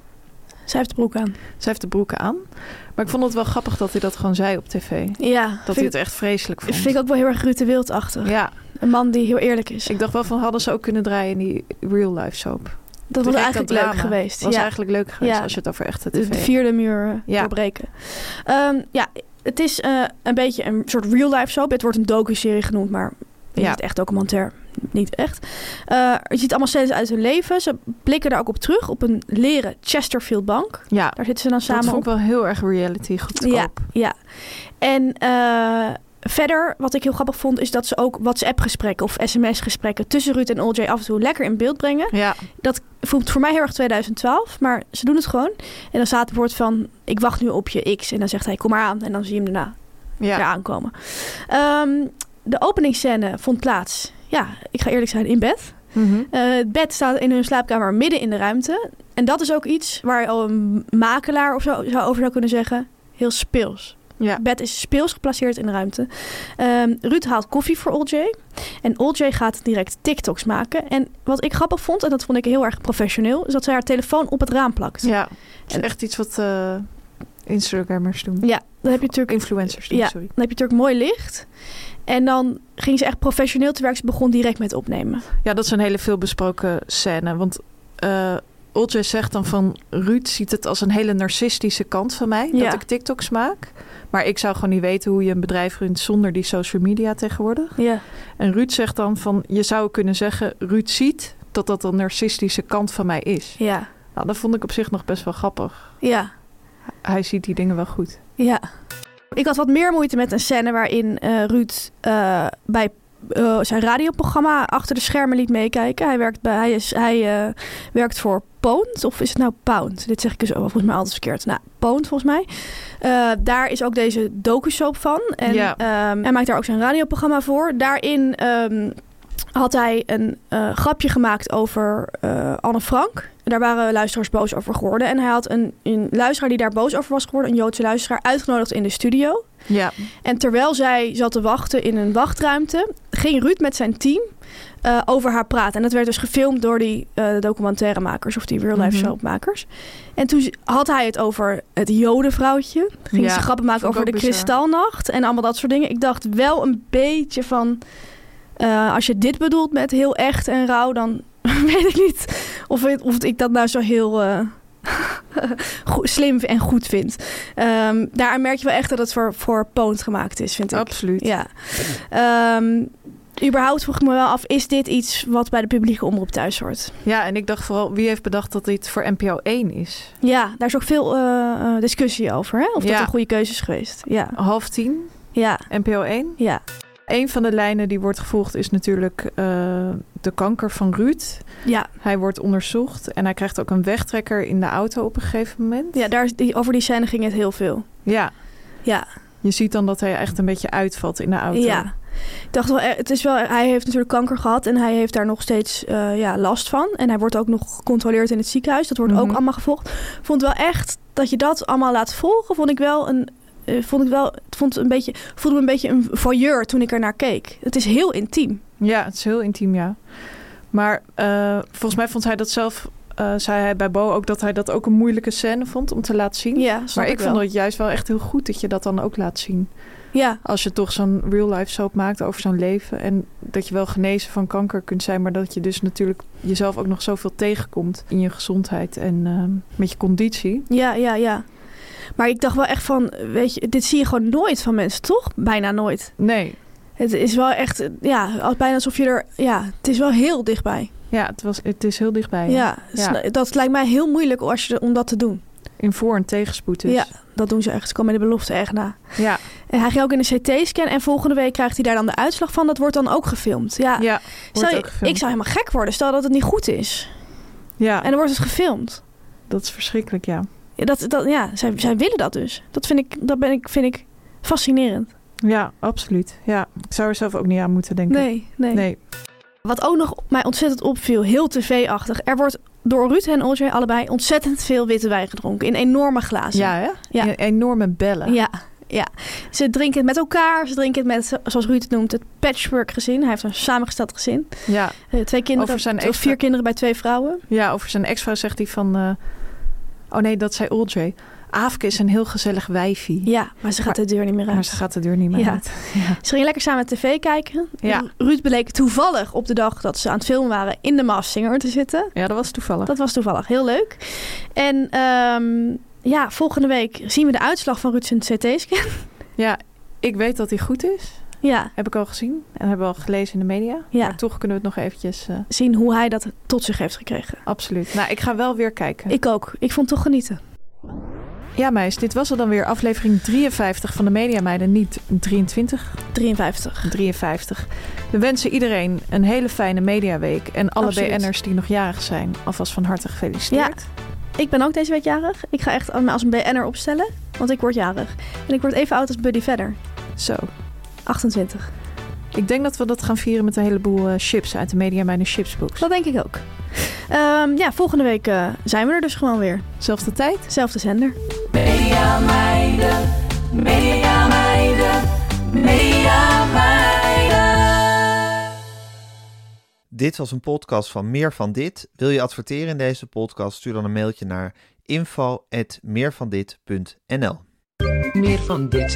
Zij heeft de broek aan. Zij heeft de broeken aan. Maar ik vond het wel grappig dat hij dat gewoon zei op tv. Ja, Dat hij vind, het echt vreselijk vond. vind ik ook wel heel erg Ruud de Wildachtig. Ja, Een man die heel eerlijk is. ik dacht wel van hadden ze ook kunnen draaien in die real life soap. dat was Direct eigenlijk dat leuk drama. geweest. was ja. eigenlijk leuk geweest Ja. als je het over echte de, tv de vierde muur eh, Ja. doorbreken. Ehm, ja, het is eh, een beetje een soort real life soap. Het wordt een docu-serie genoemd, maar Ja. niet echt documentair. Niet echt. Eh, je ziet allemaal scènes uit hun leven. Ze blikken daar ook op terug op een leren Chesterfield bank. Ja, Daar zitten ze dan dat samen vond op. ik wel heel erg reality goedkoop. Ja, ja. En eh, verder, wat ik heel grappig vond, is dat ze ook WhatsApp-gesprekken of sms-gesprekken tussen Ruud en OJ af en toe lekker in beeld brengen. Ja, voelt voor mij heel erg 2012, maar ze doen het gewoon. En dan staat het woord van, ik wacht nu op je X. En dan zegt hij, kom maar aan. En dan zie je hem daarna ja. eraan komen. Ehm, de openingsscène vond plaats, ja, ik ga eerlijk zijn, in bed. Mhm. Eh, het bed staat in hun slaapkamer midden in de ruimte. En dat is ook iets waar al een makelaar of zo zou over zou kunnen zeggen, heel speels. Ja. Het bed is speels geplaceerd in de ruimte. Ehm, Ruud haalt koffie voor Oljay. En Oljay gaat direct TikToks maken. En wat ik grappig vond, en dat vond ik heel erg professioneel, is dat zij haar telefoon op het raam plakt. Ja, het is echt iets wat eh, Instagrammers doen. Ja, dan heb je natuurlijk, Influencers doen, Ja. sorry. dan heb je natuurlijk mooi licht. En dan ging ze echt professioneel te werk. Ze begon direct met opnemen. Ja, dat is een hele veelbesproken scène. Want eh Olcay zegt dan van... Ruud ziet het als een hele narcistische kant van mij. Ja. Dat ik TikToks maak. Maar ik zou gewoon niet weten hoe je een bedrijf runt zonder die social media tegenwoordig. Ja. En Ruud zegt dan van... Je zou kunnen zeggen, Ruud ziet dat dat een narcistische kant van mij is. Ja. Nou, dat vond ik op zich nog best wel grappig. Ja. Hij ziet die dingen wel goed. Ja. Ik had wat meer moeite met een scène waarin eh, Ruud eh, bij eh, zijn radioprogramma achter de schermen liet meekijken. Hij werkt, bij, hij is, hij, eh, werkt voor Pound, of is het nou Pound? Dit zeg ik dus ook wel volgens mij altijd verkeerd. Nou, Pound volgens mij. Eh, daar is ook deze docusoap van. En Ja. ehm, hij maakt daar ook zijn radioprogramma voor. Daarin ehm, had hij een eh, grapje gemaakt over eh, Anne Frank. Daar waren luisteraars boos over geworden. En hij had een, een luisteraar die daar boos over was geworden, een Joodse luisteraar, uitgenodigd in de studio. Ja, En terwijl zij zat te wachten in een wachtruimte, ging Ruud met zijn team eh, over haar praten. En dat werd dus gefilmd door die eh, documentairemakers of die real-life Mhm. soapmakers. En toen had hij het over het jodenvrouwtje. Ging Ja, ze grappen maken vond ik over de ook bizar. kristalnacht en allemaal dat soort dingen. Ik dacht wel een beetje van... eh, als je dit bedoelt met heel echt en rauw, dan weet ik niet of, het- of ik dat nou zo heel eh, go- slim en goed vind. Ehm daaraan merk je wel echt dat het voor, voor poont gemaakt is, vind ik. absoluut. Ja. Ehm, überhaupt vroeg ik me wel af, is dit iets wat bij de publieke omroep thuis hoort? Ja, en ik dacht vooral, wie heeft bedacht dat dit voor NPO 1 is? Ja, daar is ook veel eh, eh, discussie over, hè? Of Ja. dat een goede keuze is geweest. Ja, Half tien, ja, NPO 1. ja. Een van de lijnen die wordt gevolgd is natuurlijk eh, de kanker van Ruud. Ja, Hij wordt onderzocht en hij krijgt ook een wegtrekker in de auto op een gegeven moment. ja daar, is die, over die scène ging het heel veel. Ja. Ja. Je ziet dan dat hij echt een beetje uitvalt in de auto. Ja. Ik dacht wel, eh, het is wel, hij heeft natuurlijk kanker gehad en hij heeft daar nog steeds eh, ja, last van. En hij wordt ook nog gecontroleerd in het ziekenhuis. Dat wordt ook Mhm. allemaal gevolgd. Vond wel echt dat je dat allemaal laat volgen, vond ik wel een. eh, vond ik wel, het vond een beetje, voelde me een beetje een voyeur toen ik er naar keek. Het is heel intiem. Ja, het is heel intiem, ja. Maar eh, volgens mij vond hij dat zelf, eh, zei hij bij Bo ook, dat hij dat ook een moeilijke scène vond om te laten zien. Ja, maar ik, vond wel. het juist wel echt heel goed dat je dat dan ook laat zien. Ja, Als je toch zo'n real life soap maakt over zo'n leven. En dat je wel genezen van kanker kunt zijn. Maar dat je dus natuurlijk jezelf ook nog zoveel tegenkomt. In je gezondheid en ehm, met je conditie. ja, ja, ja. Maar ik dacht wel echt van, weet je, dit zie je gewoon nooit van mensen, toch? Bijna nooit. Nee. Het is wel echt, eh, ja, als- bijna alsof je er, ja, het is wel heel dichtbij. Ja, het, was, het is heel dichtbij. hè? Ja, Ja. sn- dat lijkt mij heel moeilijk als je, om dat te doen. in voor- en tegenspoed is. Ja, dat doen ze echt. Ze komen met de belofte echt na. ja. En hij ging ook in een CT-scan en volgende week krijgt hij daar dan de uitslag van. Dat wordt dan ook gefilmd. Ja, ja Stel wordt je- ook gefilmd. ik zou helemaal gek worden. Stel dat het niet goed is. ja En dan wordt het gefilmd. dat is verschrikkelijk, ja. Ja, Dat, dat, ja, zij, zij willen dat dus. Dat vind ik, dat ben ik, vind ik fascinerend. Ja, absoluut. Ja, ik zou er zelf ook niet aan moeten denken. Nee, nee, Nee. Wat ook nog mij ontzettend opviel, heel tv-achtig. Er wordt door Ruud en Olje allebei ontzettend veel witte wijn gedronken. In enorme glazen. Ja, hè? Ja. En- Enorme bellen. Ja, ja. Ze drinken het met elkaar. Ze drinken het met, zoals Ruud het noemt, het patchwork gezin. Hij heeft een samengesteld gezin. Ja. Eh, Twee kinderen, Over zijn of extra- vier kinderen bij twee vrouwen. Ja, over zijn ex-vrouw zegt hij van... eh, oh nee, dat zei Oldjay. Aafke is een heel gezellig wijfie. Ja, maar ze gaat Maar- de deur niet meer uit. Maar ze gaat de deur niet meer Ja. uit. Ze gingen lekker samen tv kijken. Ja. En Ruud bleek toevallig op de dag dat ze aan het filmen waren in de Maas Singer te zitten. Ja, dat was toevallig. Dat was toevallig heel leuk. En ehm, ja, volgende week zien we de uitslag van Ruud's CT-scan. Ja, ik weet dat hij goed is. Ja, Heb ik al gezien. En hebben we al gelezen in de media. Ja. Maar toch kunnen we het nog eventjes... eh, zien hoe hij dat tot zich heeft gekregen. absoluut. Nou, ik ga wel weer kijken. Ik ook. Ik vond het toch genieten. Ja, meis, dit was er dan weer aflevering 53 van de Media Meiden. Niet 23, 53. 53. We wensen iedereen een hele fijne mediaweek. En alle Absoluut. BN'ers die nog jarig zijn, alvast van harte gefeliciteerd. Ik ben ook deze week jarig. Ik ga echt me als een BN'er opstellen, want ik word jarig. En ik word even oud als Buddy verder. Zo. 28. Ik denk dat we dat gaan vieren met een heleboel eh, chips uit de Media Meiden chipsbox. Dat denk ik ook. Ehm, ja, volgende week eh, zijn we er dus gewoon weer. Zelfde tijd. Zelfde zender. Dit was een podcast van Meer van Dit. Wil je adverteren in deze podcast? Stuur dan een mailtje naar info.meervandit.nl Meer van dit.